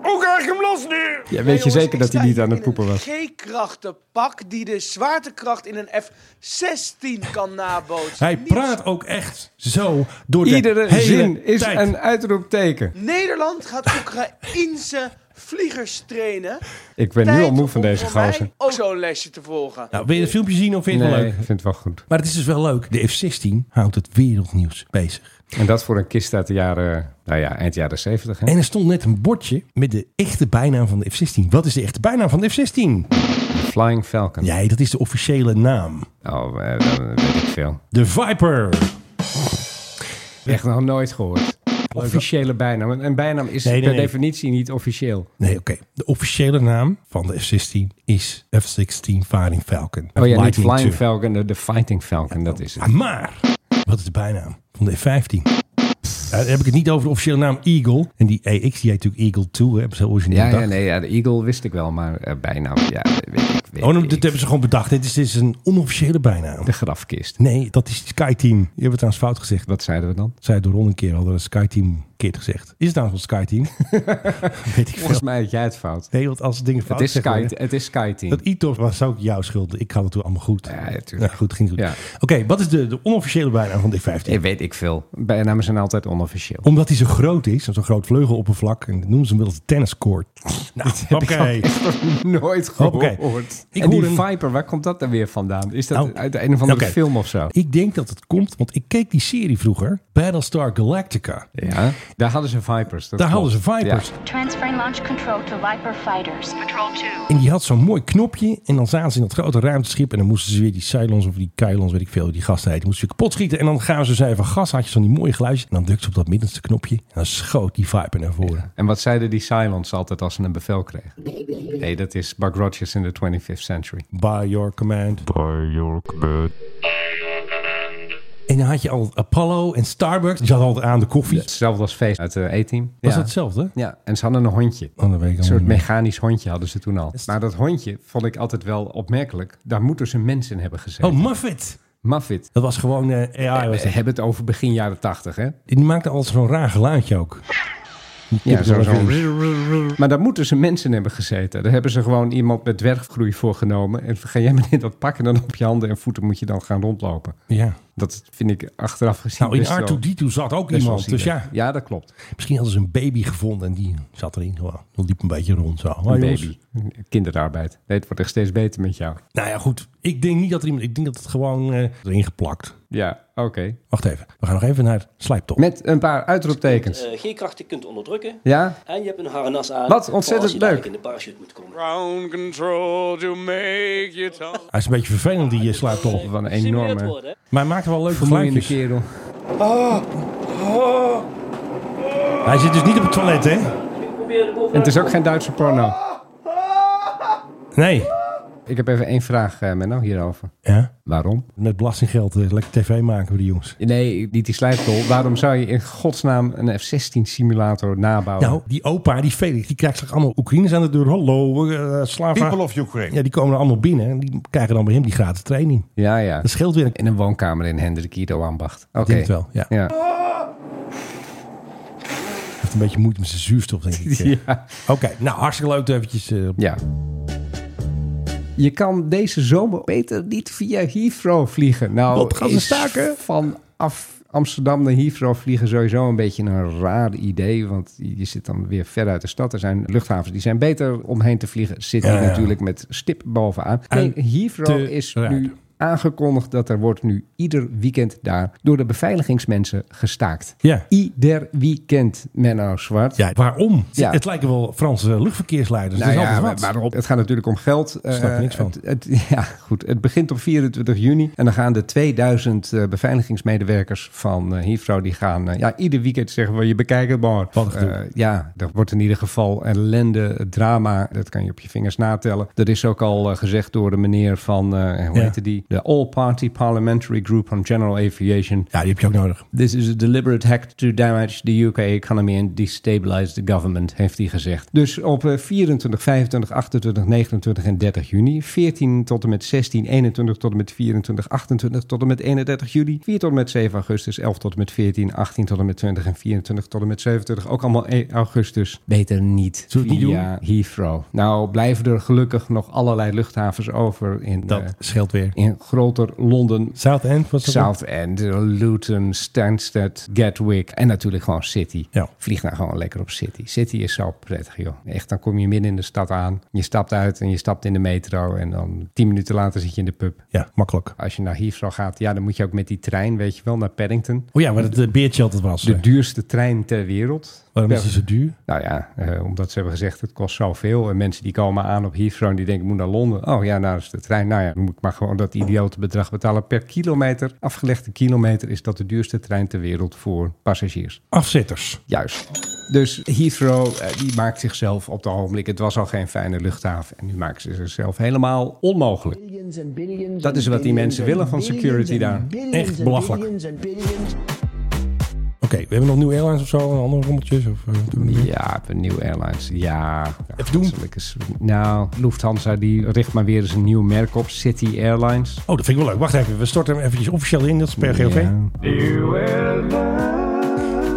S3: Hoe krijg ik hem los nu?
S9: Ja, weet je
S12: Nee,
S9: zeker
S12: jongens,
S9: dat hij
S12: ik
S9: niet
S12: sta
S9: aan
S12: hier
S9: het
S12: in
S9: poepen was?
S12: Een G-krachtenpak die de zwaartekracht in een F-16 kan nabootsen.
S8: Hij
S12: Niet-
S8: praat ook echt zo door de
S9: Iedere
S8: hele
S9: zin is
S8: tijd.
S9: een uitroepteken.
S12: Nederland gaat Oekraïnse vliegers trainen.
S9: Ik ben nu
S12: Tijd
S9: al moe van
S12: om
S9: deze
S12: voor mij
S9: gozer.
S12: Ook zo'n lesje te volgen.
S8: Nou, wil je het filmpje zien of vind je het wel
S9: Nee,
S8: leuk?
S9: ik vind het wel goed.
S8: Maar het is dus wel leuk. De F-16 houdt het wereldnieuws bezig.
S9: En dat voor een kist uit de jaren, nou ja, eind jaren 70. Hè?
S8: En er stond net een bordje met de echte bijnaam van de F-16. Wat is de echte bijnaam van de F-16?
S9: Flying Falcon.
S8: Nee, dat is de officiële naam.
S9: Oh, eh, dat weet ik veel.
S8: De Viper.
S9: Echt nog nooit gehoord. Officiële bijnaam. En een bijnaam is
S8: Nee, nee,
S9: per
S8: nee.
S9: definitie niet officieel.
S8: Nee, oké. De officiële naam van de F-16 is F-16 Fighting Falcon.
S9: Oh ja, niet
S8: Lightning Ah,
S9: Flying
S8: II.
S9: Falcon, de, de Fighting Falcon, dat is het.
S8: Maar, wat is de bijnaam van de F-15? Ja, dan heb ik het niet over de officiële naam Eagle. En die EX, die heet natuurlijk Eagle 2, hè, hebben ze origineel
S9: Ja, ja,
S8: bedacht.
S9: nee, ja, de Eagle wist ik wel, maar eh, bijnaam, ja, weet ik. Weet
S8: Oh,
S9: ik.
S8: dit hebben ze gewoon bedacht. Dit is, dit is een onofficiële bijnaam.
S9: De grafkist.
S8: Nee, dat is Sky Team. Je hebt het trouwens fout gezegd.
S9: Wat zeiden we dan?
S8: Zij door Ron een keer hadden we Sky Team keer gezegd. Is het nou wel Sky Team? Weet ik veel.
S9: Volgens mij had jij het fout.
S8: Nee, want als dingen
S9: Het
S8: fout
S9: is,
S8: gezegd worden-
S9: sky, het is Skyteam.
S8: Oh, Dat e was ook jouw schuld. Ik had het toen allemaal goed.
S9: Ja, ja, tuurlijk.
S8: Nou, goed, ging goed.
S9: Ja.
S8: Oké, wat is de, de onofficiële bijnaam van D15?
S9: Eh, weet ik veel. Bijnamen zijn altijd onofficieel.
S8: Omdat hij zo groot is, zo'n groot vleugeloppervlak, en dat noemen ze hem wel eens de tenniscourt. Nou, oké.
S9: Nooit
S8: Hoppakee.
S9: gehoord.
S8: Ik
S9: en die
S8: hoor een-
S9: Viper, waar komt dat dan weer vandaan? Is dat
S8: Nou,
S9: uit een of andere
S8: oké.
S9: film of zo?
S8: Ik denk dat het komt, want ik keek die serie vroeger, Battlestar Galactica.
S9: Ja, daar hadden ze Vipers. dat
S8: Daar
S9: klopt.
S8: hadden ze Vipers.
S9: Ja.
S6: Transferring launch control to Viper fighters. Patrol 2.
S8: En die had zo'n mooi knopje. En dan zaten ze in dat grote ruimteschip. En dan moesten ze weer die Cylons of die Kylons, weet ik veel, die gasten heet. Die moesten ze kapot schieten. En dan gaven ze zij van gas. Had je zo'n die mooie geluidje. En dan drukte ze op dat middenste knopje. En dan schoot die Viper naar voren.
S9: En wat zeiden die Cylons altijd als ze een bevel kregen? Nee, dat is Buck Rogers in the 25th Century.
S8: By your command. By your command. En dan had je al Apollo en Starbucks. Die zat altijd aan de koffie.
S9: Hetzelfde als feest uit de E-team.
S8: Was
S9: ja.
S8: dat hetzelfde?
S9: Ja, en ze hadden een hondje.
S8: Oh, dat weet ik
S9: Een soort
S8: allemaal niet.
S9: mechanisch hondje hadden ze toen al. Maar dat hondje vond ik altijd wel opmerkelijk. Daar moet dus een mens in hebben gezeten.
S8: Oh, Muffet.
S9: Muffet.
S8: Dat was gewoon eh, AI. Was
S9: We
S8: dat.
S9: hebben het over begin jaren tachtig, hè?
S8: Die maakte altijd zo'n raar geluidje ook. Die
S9: Ja,
S8: kipte
S9: zo,
S8: wel even-
S9: zo. Maar daar moeten ze mensen hebben gezeten. Daar hebben ze gewoon iemand met dwerggroei voor genomen. En ga jij maar in dat pakken dan op je handen en voeten moet je dan gaan rondlopen.
S8: ja.
S9: Dat vind ik achteraf gezien
S8: Nou, in
S9: best wel-
S8: R2-D2 zat ook
S9: best wel
S8: iemand. Dus
S9: zielig.
S8: ja,
S9: Ja, dat klopt.
S8: Misschien hadden ze een baby gevonden en die zat erin gewoon. Dat liep een beetje rond zo.
S9: Een
S8: Hoi, jongens.
S9: baby. Kinderarbeid. Nee, het wordt echt steeds beter met jou.
S8: Nou ja, goed. Ik denk niet dat er iemand... Ik denk dat het gewoon eh, erin geplakt.
S9: Ja, oké.
S8: Wacht even. We gaan nog even naar Slijptop.
S9: Met een paar uitroeptekens.
S13: eh, G-krachten kunt onderdrukken.
S9: Ja?
S13: En je hebt een harnas aan.
S9: Wat ontzettend
S13: voor als je dadelijk
S9: leuk.
S13: in de parachute moet komen.
S4: Ground control to make you talk.
S8: Hij is een beetje vervelend, die eh, Slijptop.
S9: Wat een
S13: Gesimuleerd
S9: enorme
S13: worden. hè?
S8: Maar hij maakt wel leuke
S9: vermoeiende
S8: geluidjes.
S9: kerel.
S8: Hij zit dus niet op het toilet, hè?
S13: Probeer de
S9: En het
S13: bovenuit.
S9: is ook geen Duitse porno.
S8: Nee.
S9: Ik heb even één vraag, eh, Menno, hierover.
S8: Ja.
S9: Waarom?
S8: Met belastinggeld eh, lekker tv maken we die jongens.
S9: Nee, niet die slijptol. Waarom zou je in godsnaam een F-16 simulator nabouwen?
S8: Nou, die opa, die Felix, die krijgt straks allemaal Oekraïners aan de deur. Hallo, eh slaven.
S14: People of Ukraine.
S8: Ja, die komen er allemaal binnen en die krijgen dan bij hem die gratis training.
S9: Ja, ja.
S8: Dat scheelt weer. een-
S9: In een woonkamer in Hendrik Ido ambacht. Oké.
S8: denk het wel, ja.
S9: ja.
S8: Heeft een beetje moeite met zijn zuurstof, denk ik. eh.
S9: Ja.
S8: Oké, nou hartstikke leuk eventjes. eh,
S9: Ja. Je kan deze zomer beter niet via Heathrow vliegen. Nou,
S8: Wat gaan ze
S9: is
S8: staken?
S9: Vanaf Amsterdam naar Heathrow vliegen sowieso een beetje een raar idee. Want je zit dan weer ver uit de stad. Er zijn luchthavens die zijn beter omheen te vliegen. Zit
S8: Ja, ja.
S9: natuurlijk met stip bovenaan.
S8: En
S9: Nee, Heathrow
S8: te
S9: is
S8: raar.
S9: nu aangekondigd dat er wordt nu ieder weekend daar door de beveiligingsmensen gestaakt.
S8: Ja.
S9: Ieder weekend, Menno Zwart.
S8: ja, waarom?
S9: Ja.
S8: Het lijken wel Franse luchtverkeersleiders.
S9: Nou
S8: dat is
S9: ja,
S8: altijd wat.
S9: maar waarom? Het gaat natuurlijk om geld.
S8: Ik snap er
S9: Eh,
S8: niks van.
S9: Het, het- ja, goed. Het begint op 24 juni. En dan gaan de 2000 eh, beveiligingsmedewerkers van eh Heathrow... die gaan eh, ja, ieder weekend zeggen van je bekijkt het maar.
S8: Wat een gedoe.
S9: Eh, ja, dat wordt in ieder geval ellende, drama. Dat kan je op je vingers natellen. Dat is ook al eh, gezegd door de meneer van... eh, hoe
S8: Ja.
S9: heette die? De All Party Parliamentary Group on General Aviation.
S8: Ja, die heb je ook nodig.
S9: This is a deliberate hack to damage the UK economy and destabilize the government, heeft hij gezegd. Dus op eh, 24, 25, 28, 29 en 30 juni. 14 tot en met 16, 21 tot en met 24, 28 tot en met 31 juli. 4 tot en met 7 augustus, 11 tot en met 14, 18 tot en met 20 en 24 tot en met 27. Ook allemaal 1 augustus. Beter niet.
S8: Zullen we het niet
S9: via Heathrow. Nou blijven er gelukkig nog allerlei luchthavens over in,
S8: Dat
S9: eh,
S8: scheelt weer.
S9: in en groter Londen.
S8: South End was dat
S9: South End, eh, Luton, Stansted, Gatwick en natuurlijk gewoon City.
S8: Ja.
S9: Vlieg nou gewoon lekker op City. City is zo prettig, joh. Echt, dan kom je midden in de stad aan. Je stapt uit en je stapt in de metro en dan tien minuten later zit je in de pub.
S8: Ja, makkelijk.
S9: Als je naar Heathrow gaat, ja, dan moet je ook met die trein, weet je wel, naar Paddington.
S8: Oh ja, waar het eh, beertje altijd was.
S9: De duurste trein ter wereld.
S8: Waarom is
S9: Per-
S8: die zo duur?
S9: nou ja, eh, omdat ze hebben gezegd het kost zoveel. En mensen die komen aan op Heathrow en die denken ik moet naar Londen. Oh ja, nou is de trein. Nou ja, dan moet ik maar gewoon dat idiote bedrag betalen per kilometer. Afgelegde kilometer is dat de duurste trein ter wereld voor passagiers.
S8: Afzitters.
S9: Juist. Dus Heathrow, eh, die maakt zichzelf op het ogenblik. Het was al geen fijne luchthaven. En nu maken ze zichzelf helemaal onmogelijk. Dat is wat die mensen willen van security daar.
S8: Echt belachelijk. Oké, we hebben nog nieuwe airlines of zo en andere rommeltjes. Of, eh, wat doen we nog meer?
S9: Ja, een nieuwe airlines. Ja. Even doen. Nou, Lufthansa die richt maar weer eens een nieuw merk op. City Airlines.
S8: Oh, dat vind ik wel leuk. Wacht even, we storten hem eventjes officieel in. Dat is per GOV.
S9: Ja.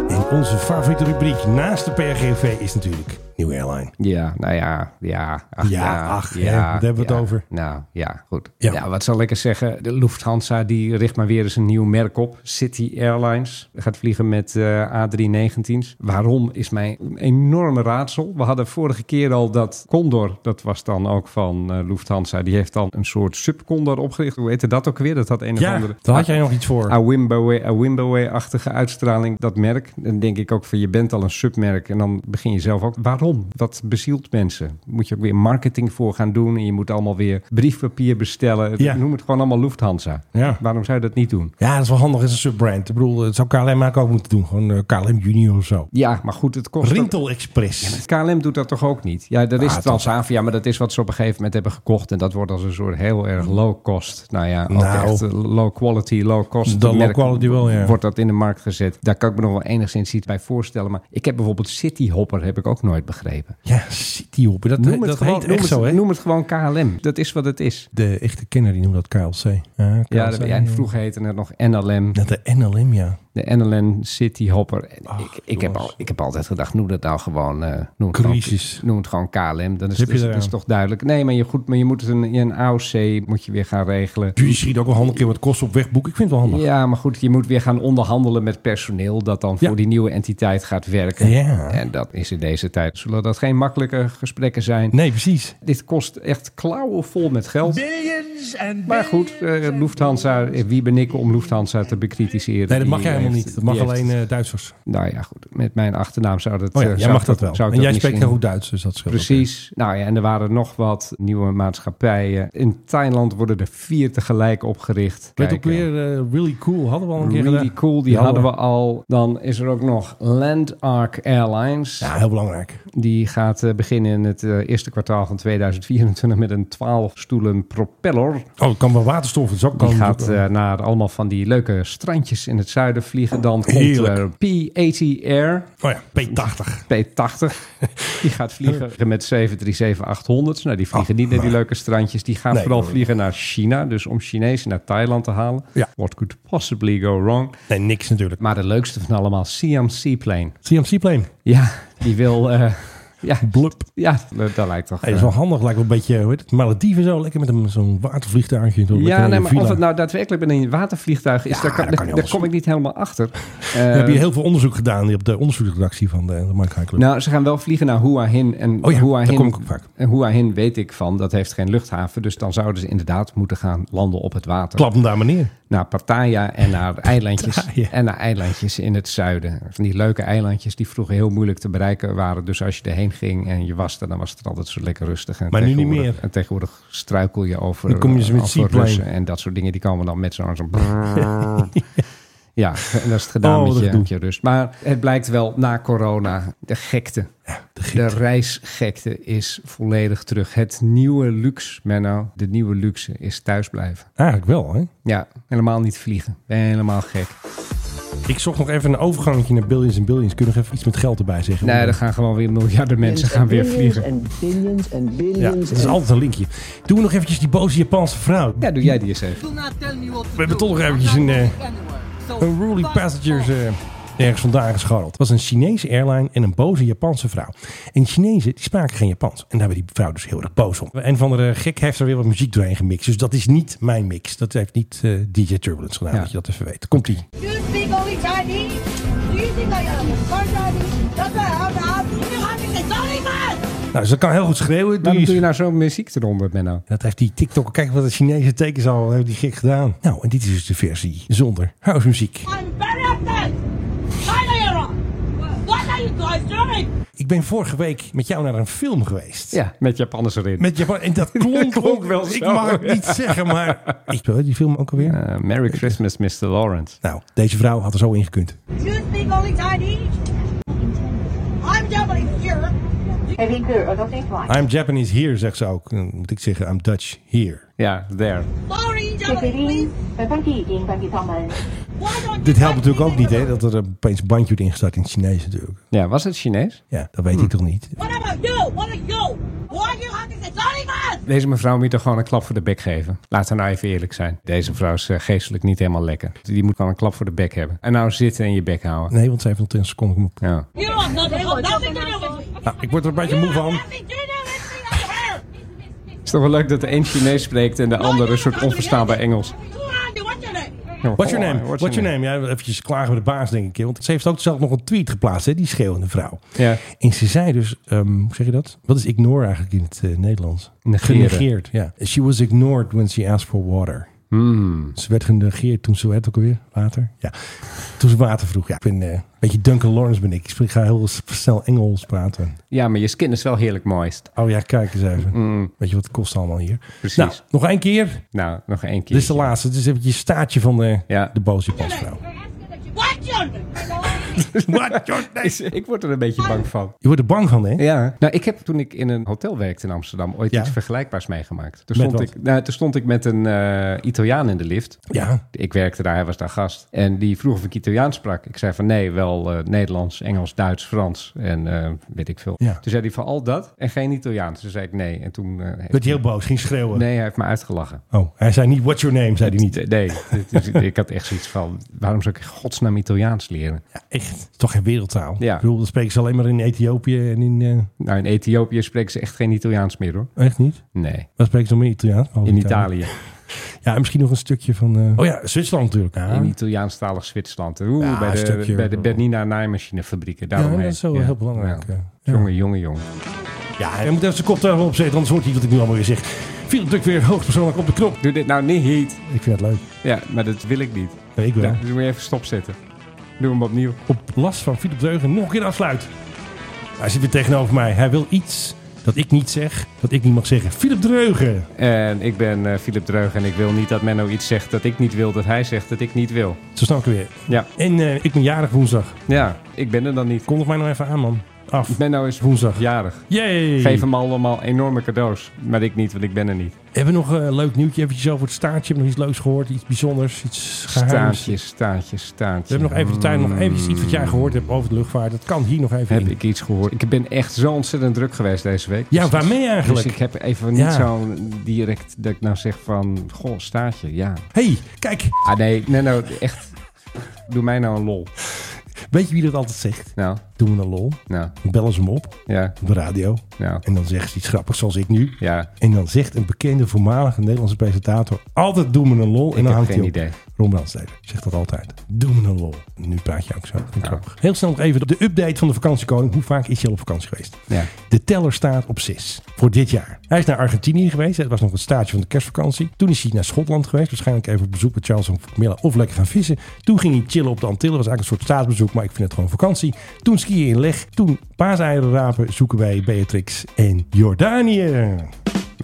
S8: En onze favoriete rubriek naast de PRGV is natuurlijk Nieuwe Airline.
S9: Ja, nou ja, ja. Ach,
S8: Ja, ach, hè, daar hebben we het
S9: ja.
S8: over.
S9: Nou, ja, goed.
S8: Ja.
S9: Ja. wat zal ik eens zeggen? De Lufthansa die richt maar weer eens een nieuw merk op. City Airlines gaat vliegen met eh, A319's. Waarom is mij een enorme raadsel. We hadden vorige keer al dat Condor, dat was dan ook van eh, Lufthansa. Die heeft dan een soort subcondor opgericht. Hoe heette dat ook weer? Dat had een of
S8: Ja,
S9: andere...
S8: daar had jij nog iets voor.
S9: Awimbowe- Awimbowe-achtige uitstraling, dat merk. Dan denk ik ook van, je bent al een submerk en dan begin je zelf ook. Waarom? Dat bezielt mensen. Moet je ook weer marketing voor gaan doen en je moet allemaal weer briefpapier bestellen.
S8: Ja.
S9: Noem het gewoon allemaal Lufthansa.
S8: Ja.
S9: Waarom zou je dat niet doen?
S8: Ja, dat is wel handig als een subbrand. Ik bedoel, dat zou KLM eigenlijk ook moeten doen. Gewoon eh, KLM Junior of zo.
S9: Ja, maar goed, het kost... ook-
S8: Rintel Express.
S9: Ja, maar KLM doet dat toch ook niet? Ja, dat is
S8: Ah,
S9: Transavia, maar dat is wat ze op een gegeven moment hebben gekocht. En dat wordt als een soort heel erg low cost. Nou ja, ook
S8: Nou.
S9: echt eh, low quality, low cost.
S8: Dat low
S9: merk
S8: quality wel, Oh ja.
S9: Wordt dat in de markt gezet. Daar kan ik me nog wel enigszins iets bij voorstellen. Maar ik heb bijvoorbeeld City Hopper heb ik ook nooit begrepen.
S8: Ja, City op. Dat,
S9: Noem het,
S8: dat
S9: gewoon,
S8: heet
S9: noem,
S8: echt
S9: het,
S8: zo, hè?
S9: noem het gewoon KLM. Dat is wat het is.
S8: De echte kenner die noemt dat KLC. Ja, KLC.
S9: Ja, dat, ja, en vroeger heette het nog NLM.
S8: Dat de NLM, ja.
S9: De NLN City Hopper. En ik, ik, heb al, ik heb altijd gedacht, noem dat nou gewoon... eh, noem, het
S8: Crisis.
S9: gewoon noem het gewoon KLM. Dat is,
S8: Heb je
S9: dat is-
S8: eraan.
S9: dat is toch duidelijk. Nee, maar je, goed, maar je moet het een, een AOC moet je weer gaan regelen.
S8: Jullie schieten ook wel handig in wat kosten op wegboek. Ik vind het wel handig.
S9: Ja, maar goed, je moet weer gaan onderhandelen met personeel... dat dan
S8: Ja.
S9: voor die nieuwe entiteit gaat werken.
S8: Ja.
S9: En dat is in deze tijd... zullen dat geen makkelijke gesprekken zijn.
S8: Nee, precies.
S9: Dit kost echt klauwen vol met geld.
S10: Billions and
S9: Maar goed, eh, Lufthansa, eh, wie ben ik om Lufthansa te bekritiseren?
S8: Nee, dat mag
S9: Die
S8: jij helemaal
S9: heeft-
S8: niet. Dat mag
S9: die heeft-
S8: alleen eh, Duitsers.
S9: Nou ja, goed. Met mijn achternaam zou dat...
S8: Oh ja,
S9: eh,
S8: jij
S9: zou
S8: mag
S9: ik
S8: dat wel.
S9: zou ik
S8: En jij
S9: niet
S8: spreekt
S9: zien.
S8: heel goed Duits, dus dat scheelt ook.
S9: Precies. Nou ja, en er waren nog wat nieuwe maatschappijen. In Thailand worden er vier tegelijk opgericht.
S8: Let
S9: Kijk,
S8: ook weer, eh, really cool. Hadden we al een keer
S9: Really
S8: gedaan.
S9: cool, die
S8: Ja,
S9: hadden
S8: hoor.
S9: we al. Dan is er ook nog Landark Airlines.
S8: Ja, heel belangrijk.
S9: Die gaat eh, beginnen in het eh, eerste kwartaal van 2024 met een 12 stoelen propeller.
S8: Oh, het kan wel waterstof. Het is ook
S9: Die
S8: kan-
S9: gaat eh, naar allemaal van die leuke strandjes in het zuiden vliegen. Dan komt eh, er
S8: Heerlijk.
S9: P-80 Air.
S8: Oh ja, P80.
S9: P80. Die gaat vliegen met 737-800's. Nou, die vliegen
S8: Ah,
S9: niet naar die
S8: maar-
S9: leuke strandjes. Die gaan
S8: Nee, oh
S9: vooral
S8: hoor.
S9: vliegen naar China. Dus om Chinezen naar Thailand te halen.
S8: Ja.
S9: What could possibly go wrong?
S8: Nee, niks natuurlijk.
S9: Maar de leukste van allemaal, Siam Seaplane.
S8: CMC-plane.
S9: Ja, die wil... eh, ja,
S8: Blub.
S9: ja, dat lijkt toch... eh,
S8: Hey, dat is wel handig. Lijkt wel een beetje, hoe heet het, Malediven zo. Lekker met een- zo'n watervliegtuigje. Zo, lekker
S9: ja,
S8: in
S9: nee,
S8: een
S9: maar
S8: villa.
S9: of het nou daadwerkelijk met een watervliegtuig is,
S8: Ja,
S9: daar, kan,
S8: dat kan
S9: daar-
S8: niet
S9: daar
S8: anders.
S9: kom ik niet helemaal achter.
S8: We hebben
S9: Eh,
S8: hier heel veel onderzoek gedaan op de onderzoeksredactie van de, de Mike High Club.
S9: Nou, ze gaan wel vliegen naar Hua Hin. En
S8: Oh ja,
S9: Hua
S8: daar
S9: Hin,
S8: kom ik ook vaak.
S9: En Hua Hin weet ik van, dat heeft geen luchthaven. Dus dan zouden ze inderdaad moeten gaan landen op het water.
S8: Klap hem daar maar neer.
S9: Naar Pattaya en naar eilandjes.
S8: Pattaya.
S9: En naar eilandjes in het zuiden. Van die leuke eilandjes die vroeger heel moeilijk te bereiken waren. Dus als je erheen ging en je was er, dan was het altijd zo lekker rustig. En
S8: Maar nu niet
S9: tegenwoordig-
S8: meer.
S9: En tegenwoordig struikel je over, eh,
S8: Dan kom je ze met
S9: over
S8: seaplane.
S9: Russen En dat soort dingen, die komen dan met zo'n... zo'n Ja, en dat is het gedaan
S8: Oh,
S9: met,
S8: dat
S9: je,
S8: doet.
S9: met je rust. Maar het blijkt wel na corona, de gekte.
S8: de
S9: de,
S8: gekte.
S9: reisgekte is volledig terug. Het nieuwe luxe, Menno, de nieuwe luxe is thuisblijven.
S8: Eigenlijk wel, hè?
S9: Ja, helemaal niet vliegen. Helemaal gek.
S8: Ik zocht nog even een overgangetje naar Billions en Billions. Kunnen we nog even iets met geld erbij zeggen?
S9: Nee, er gaan gewoon weer miljarden mensen gaan weer vliegen.
S10: and billions and
S8: ja,
S10: billions.
S8: dat is altijd een linkje. Doen we nog eventjes die boze Japanse vrouw.
S9: Ja, doe jij die eens even.
S8: We hebben toch nog eventjes een, eh, een ruling passengers eh, ergens vandaan gescharreld. Het was een Chinese airline en een boze Japanse vrouw. En die Chinezen die spraken geen Japans. En daar werd die vrouw dus heel erg boos om. En van de eh, gek heeft er weer wat muziek doorheen gemixt. Dus dat is niet mijn mix. Dat heeft niet eh, DJ Turbulence gedaan, dat je dat even weet. Komt-ie.
S14: You speak only Chinese? Do you think I am a Chinese? That's why I'm not. You have to say sorry, man!
S8: Nou, ze kan heel goed schreeuwen.
S9: Waarom doe je nou zo'n muziek eronder, Menno?
S8: Dat heeft die TikTok. Kijk wat de Chinese tekens al hebben die gek gedaan. Nou, en dit is dus de versie zonder housemuziek.
S14: I'm very upset! China, you're wrong! What are you guys doing?
S8: Ik ben vorige week met jou naar een film geweest.
S9: Ja, met Japanners erin.
S8: Met Japan. En dat klonk, ook wel
S9: zo.
S8: Ik mag het niet
S9: Ja.
S8: zeggen, maar... Ik wil die film ook alweer.
S9: Eh, Merry Christmas, Mr. Lawrence.
S8: Nou, deze vrouw had er zo ingekund.
S14: You speak only Chinese? I'm Japanese here.
S8: I'm Japanese here, zegt ze ook. Dan moet ik zeggen, I'm Dutch here.
S9: Ja, there.
S14: Sorry, Japanese, please. Why don't
S8: Dit helpt natuurlijk ook niet, hè? Dat er opeens een bandje wordt ingestart in het Chinees natuurlijk.
S9: Ja, was het Chinees?
S8: Ja, dat weet ik toch niet.
S14: Hmm. What about you? What are you? Why you have to say sorry, man?
S9: Deze mevrouw moet toch gewoon een klap voor de bek geven. Laten we nou even eerlijk zijn. Deze vrouw is eh, geestelijk niet helemaal lekker. Die moet gewoon een klap voor de bek hebben. En nou zitten en je bek houden.
S8: Nee, want ze heeft nog 10 seconden. Kom op.
S9: Ja.
S14: You don't have nothing, nothing to do with me.
S8: Nou, ik word er een beetje moe van.
S9: Is toch wel leuk dat de een Chinees spreekt en de andere een soort onverstaanbaar Engels.
S8: What's your name? What's your name? Ja, eventjes klagen we de baas, denk ik. hè, Want ze heeft ook zelf nog een tweet geplaatst, hè, die schreeuwende vrouw.
S9: Ja.
S8: En ze zei dus, ehm, hoe zeg je dat? Wat is ignore eigenlijk in het eh, Nederlands?
S9: Negeren.
S8: Genegeerd, ja. She was ignored when she asked for water.
S9: Hmm.
S8: Ze werd genegeerd toen ze werd ook alweer water. Ja, toen ze water vroeg. Ja, ik ben eh, een beetje Duncan Lawrence ben ik. Ik spreek- ga heel s- snel Engels praten.
S9: Ja, maar je skin is wel heerlijk mooist.
S8: Oh ja, kijk eens even.
S9: Mm.
S8: Weet je wat het kost allemaal hier?
S9: Precies.
S8: Nou, nog één keer.
S9: Nou, nog één keer.
S8: Dit is de laatste. Dit is eventjes staartje van de,
S9: Ja.
S8: de boze Japansvrouw.
S14: What your name?
S8: What your name?
S9: Ik word er een beetje bang van.
S8: Je wordt er bang van, hè?
S9: Ja. Nou, ik heb toen ik in een hotel werkte in Amsterdam ooit
S8: Ja.
S9: iets vergelijkbaars meegemaakt. Toen
S8: Met
S9: stond,
S8: wat?
S9: ik, nou, toen stond ik met een eh, Italiaan in de lift.
S8: Ja.
S9: Ik werkte daar, hij was daar gast. En die vroeg of ik Italiaans sprak. Ik zei van nee, wel eh, Nederlands, Engels, Duits, Frans en eh, weet ik veel.
S8: Ja.
S9: Toen zei hij van al dat en geen Italiaans. Toen zei ik nee. En toen... eh, heeft-
S8: Werd hij heel boos, ging schreeuwen.
S9: Nee, hij heeft me uitgelachen.
S8: Oh, hij zei niet what's your name, zei hij niet.
S9: Nee, dit is- ik had echt zoiets van, waarom zou ik in godsnaam Italiaans leren?
S8: Ja, echt. Het is toch geen wereldtaal?
S9: Ja.
S8: Ik bedoel, dat spreken ze alleen maar in Ethiopië en in... eh,
S9: Nou, in Ethiopië spreken ze echt geen Italiaans meer hoor.
S8: echt niet?
S9: Nee,
S8: Wat spreken ze nog meer Italiaans? Behalve
S9: in Italië.
S8: Ja, en misschien nog een stukje van... eh, Oh ja, Zwitserland natuurlijk. Ja,
S9: In Italiaans-talig Zwitserland. Oeh,
S8: Ja,
S9: bij, de,
S8: een stukje.
S9: bij de Bernina naaimachinefabrieken.
S8: ja,
S9: Daarom
S8: dat is wel heel belangrijk. eh. Ja.
S9: Jongen, jongen, jongen.
S8: Ja, je moet even zijn kop daarop opzetten, anders hoort hij wat ik nu allemaal weer zeg. Philip drukt weer hoogstpersoonlijk op de knop.
S9: Doe dit nou niet.
S8: Ik vind het leuk.
S9: Ja, maar dat wil ik niet.
S8: Ja, ik wel.
S9: Ja, dus moet je even stopzetten. Doe hem opnieuw.
S8: Op last van Philip Deugen nog een keer afsluit. Hij zit weer tegenover mij. Hij wil iets dat ik niet zeg, dat ik niet mag zeggen. Philip Dreugen.
S9: En ik ben eh, Philip Dreugen en ik wil niet dat Menno iets zegt dat ik niet wil, dat hij zegt dat ik niet wil.
S8: Zo snap ik weer.
S9: Ja,
S8: En eh, ik ben jarig woensdag.
S9: ja ik ben er dan niet.
S8: Kondig mij nou even aan, man. Af.
S9: Menno is
S8: Woensdag.
S9: jarig.
S8: Yay!
S9: Geef hem allemaal enorme cadeaus. Maar ik niet, want ik ben er niet.
S8: Hebben we nog een leuk nieuwtje eventjes over het staartje? Hebben we nog iets leuks gehoord? Iets bijzonders? Iets geheims?
S9: Staartjes, staartjes,
S8: We
S9: staartjes.
S8: hebben nog even tijd, nog eventjes iets wat jij gehoord hebt over de luchtvaart. Dat kan hier nog even
S9: Heb
S8: in.
S9: ik iets gehoord? Ik ben echt zo ontzettend druk geweest deze week.
S8: Ja,
S9: Dus-
S8: waarmee eigenlijk?
S9: Dus ik heb even niet
S8: Ja.
S9: zo direct dat ik nou zeg van... Goh, staartje, ja.
S8: hey, kijk.
S9: Ah nee, nee, nou echt. Doe mij nou een lol.
S8: Weet je wie dat altijd zegt?
S9: Nou,
S8: Doen we een lol.
S9: nou,
S8: Bellen ze hem op,
S9: ja,
S8: op de radio.
S9: nou,
S8: En nou dan zeggen ze iets grappigs zoals ik nu.
S9: ja.
S8: En dan zegt een bekende voormalige Nederlandse presentator altijd doen we een lol. en
S9: Ik
S8: dan
S9: heb
S8: hangt hij
S9: geen
S8: op.
S9: idee.
S8: Ron Brandstede zegt dat altijd. Doen we een lol. Nu praat je ook zo. Vind ik grappig. Heel snel nog even de update van de vakantiekoning. Hoe vaak is je al op vakantie geweest?
S9: Ja.
S8: De teller staat op 6 voor dit jaar. Hij is naar Argentinië geweest. Het was nog het staartje van de kerstvakantie. Toen is hij naar Schotland geweest. Waarschijnlijk even op bezoek bij Charles en Camilla of lekker gaan vissen. Toen ging hij chillen op de Antillen. was eigenlijk een soort staatsbezoek, maar ik vind het gewoon vakantie. Toen skiën in Leg. Toen paaseieren rapen zoeken bij Beatrix en Jordanië.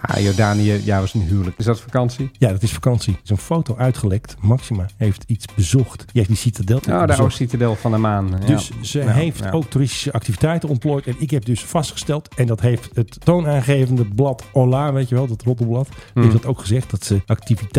S9: Ah, Jordanië, ja, was een huwelijk. Is dat vakantie?
S8: Ja, dat is vakantie. Er is een foto uitgelekt. Maxima heeft iets bezocht. Die heeft die citadel
S9: Nou, de
S8: bezocht.
S9: oude citadel van de maan. ja.
S8: Dus ze
S9: Ja,
S8: heeft
S9: ja.
S8: ook toeristische activiteiten ontplooid. En ik heb dus vastgesteld, en dat heeft het toonaangevende blad Ola, weet je wel, dat rottelblad,
S9: Hmm.
S8: heeft dat ook gezegd, dat ze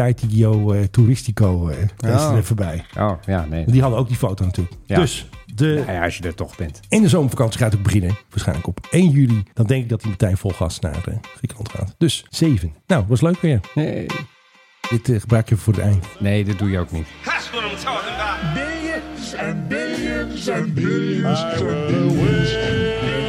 S8: activiteitio eh, touristico eh, daar is
S9: Oh.
S8: er even bij.
S9: Oh, ja, nee.
S8: Die hadden ook die foto natuurlijk.
S9: Ja.
S8: Dus de,
S9: Nou ja, als je er toch bent.
S8: en de zomervakantie gaat ook beginnen. Waarschijnlijk op 1 juli. Dan denk ik dat die meteen vol gas naar eh, Griekenland gaat. Dus 7. Nou, was leuk weer.
S9: Nee,
S8: Dit eh, gebruik je voor het eind.
S9: nee dat doe je ook niet.
S12: Billions
S8: billions and billions and billions and billions.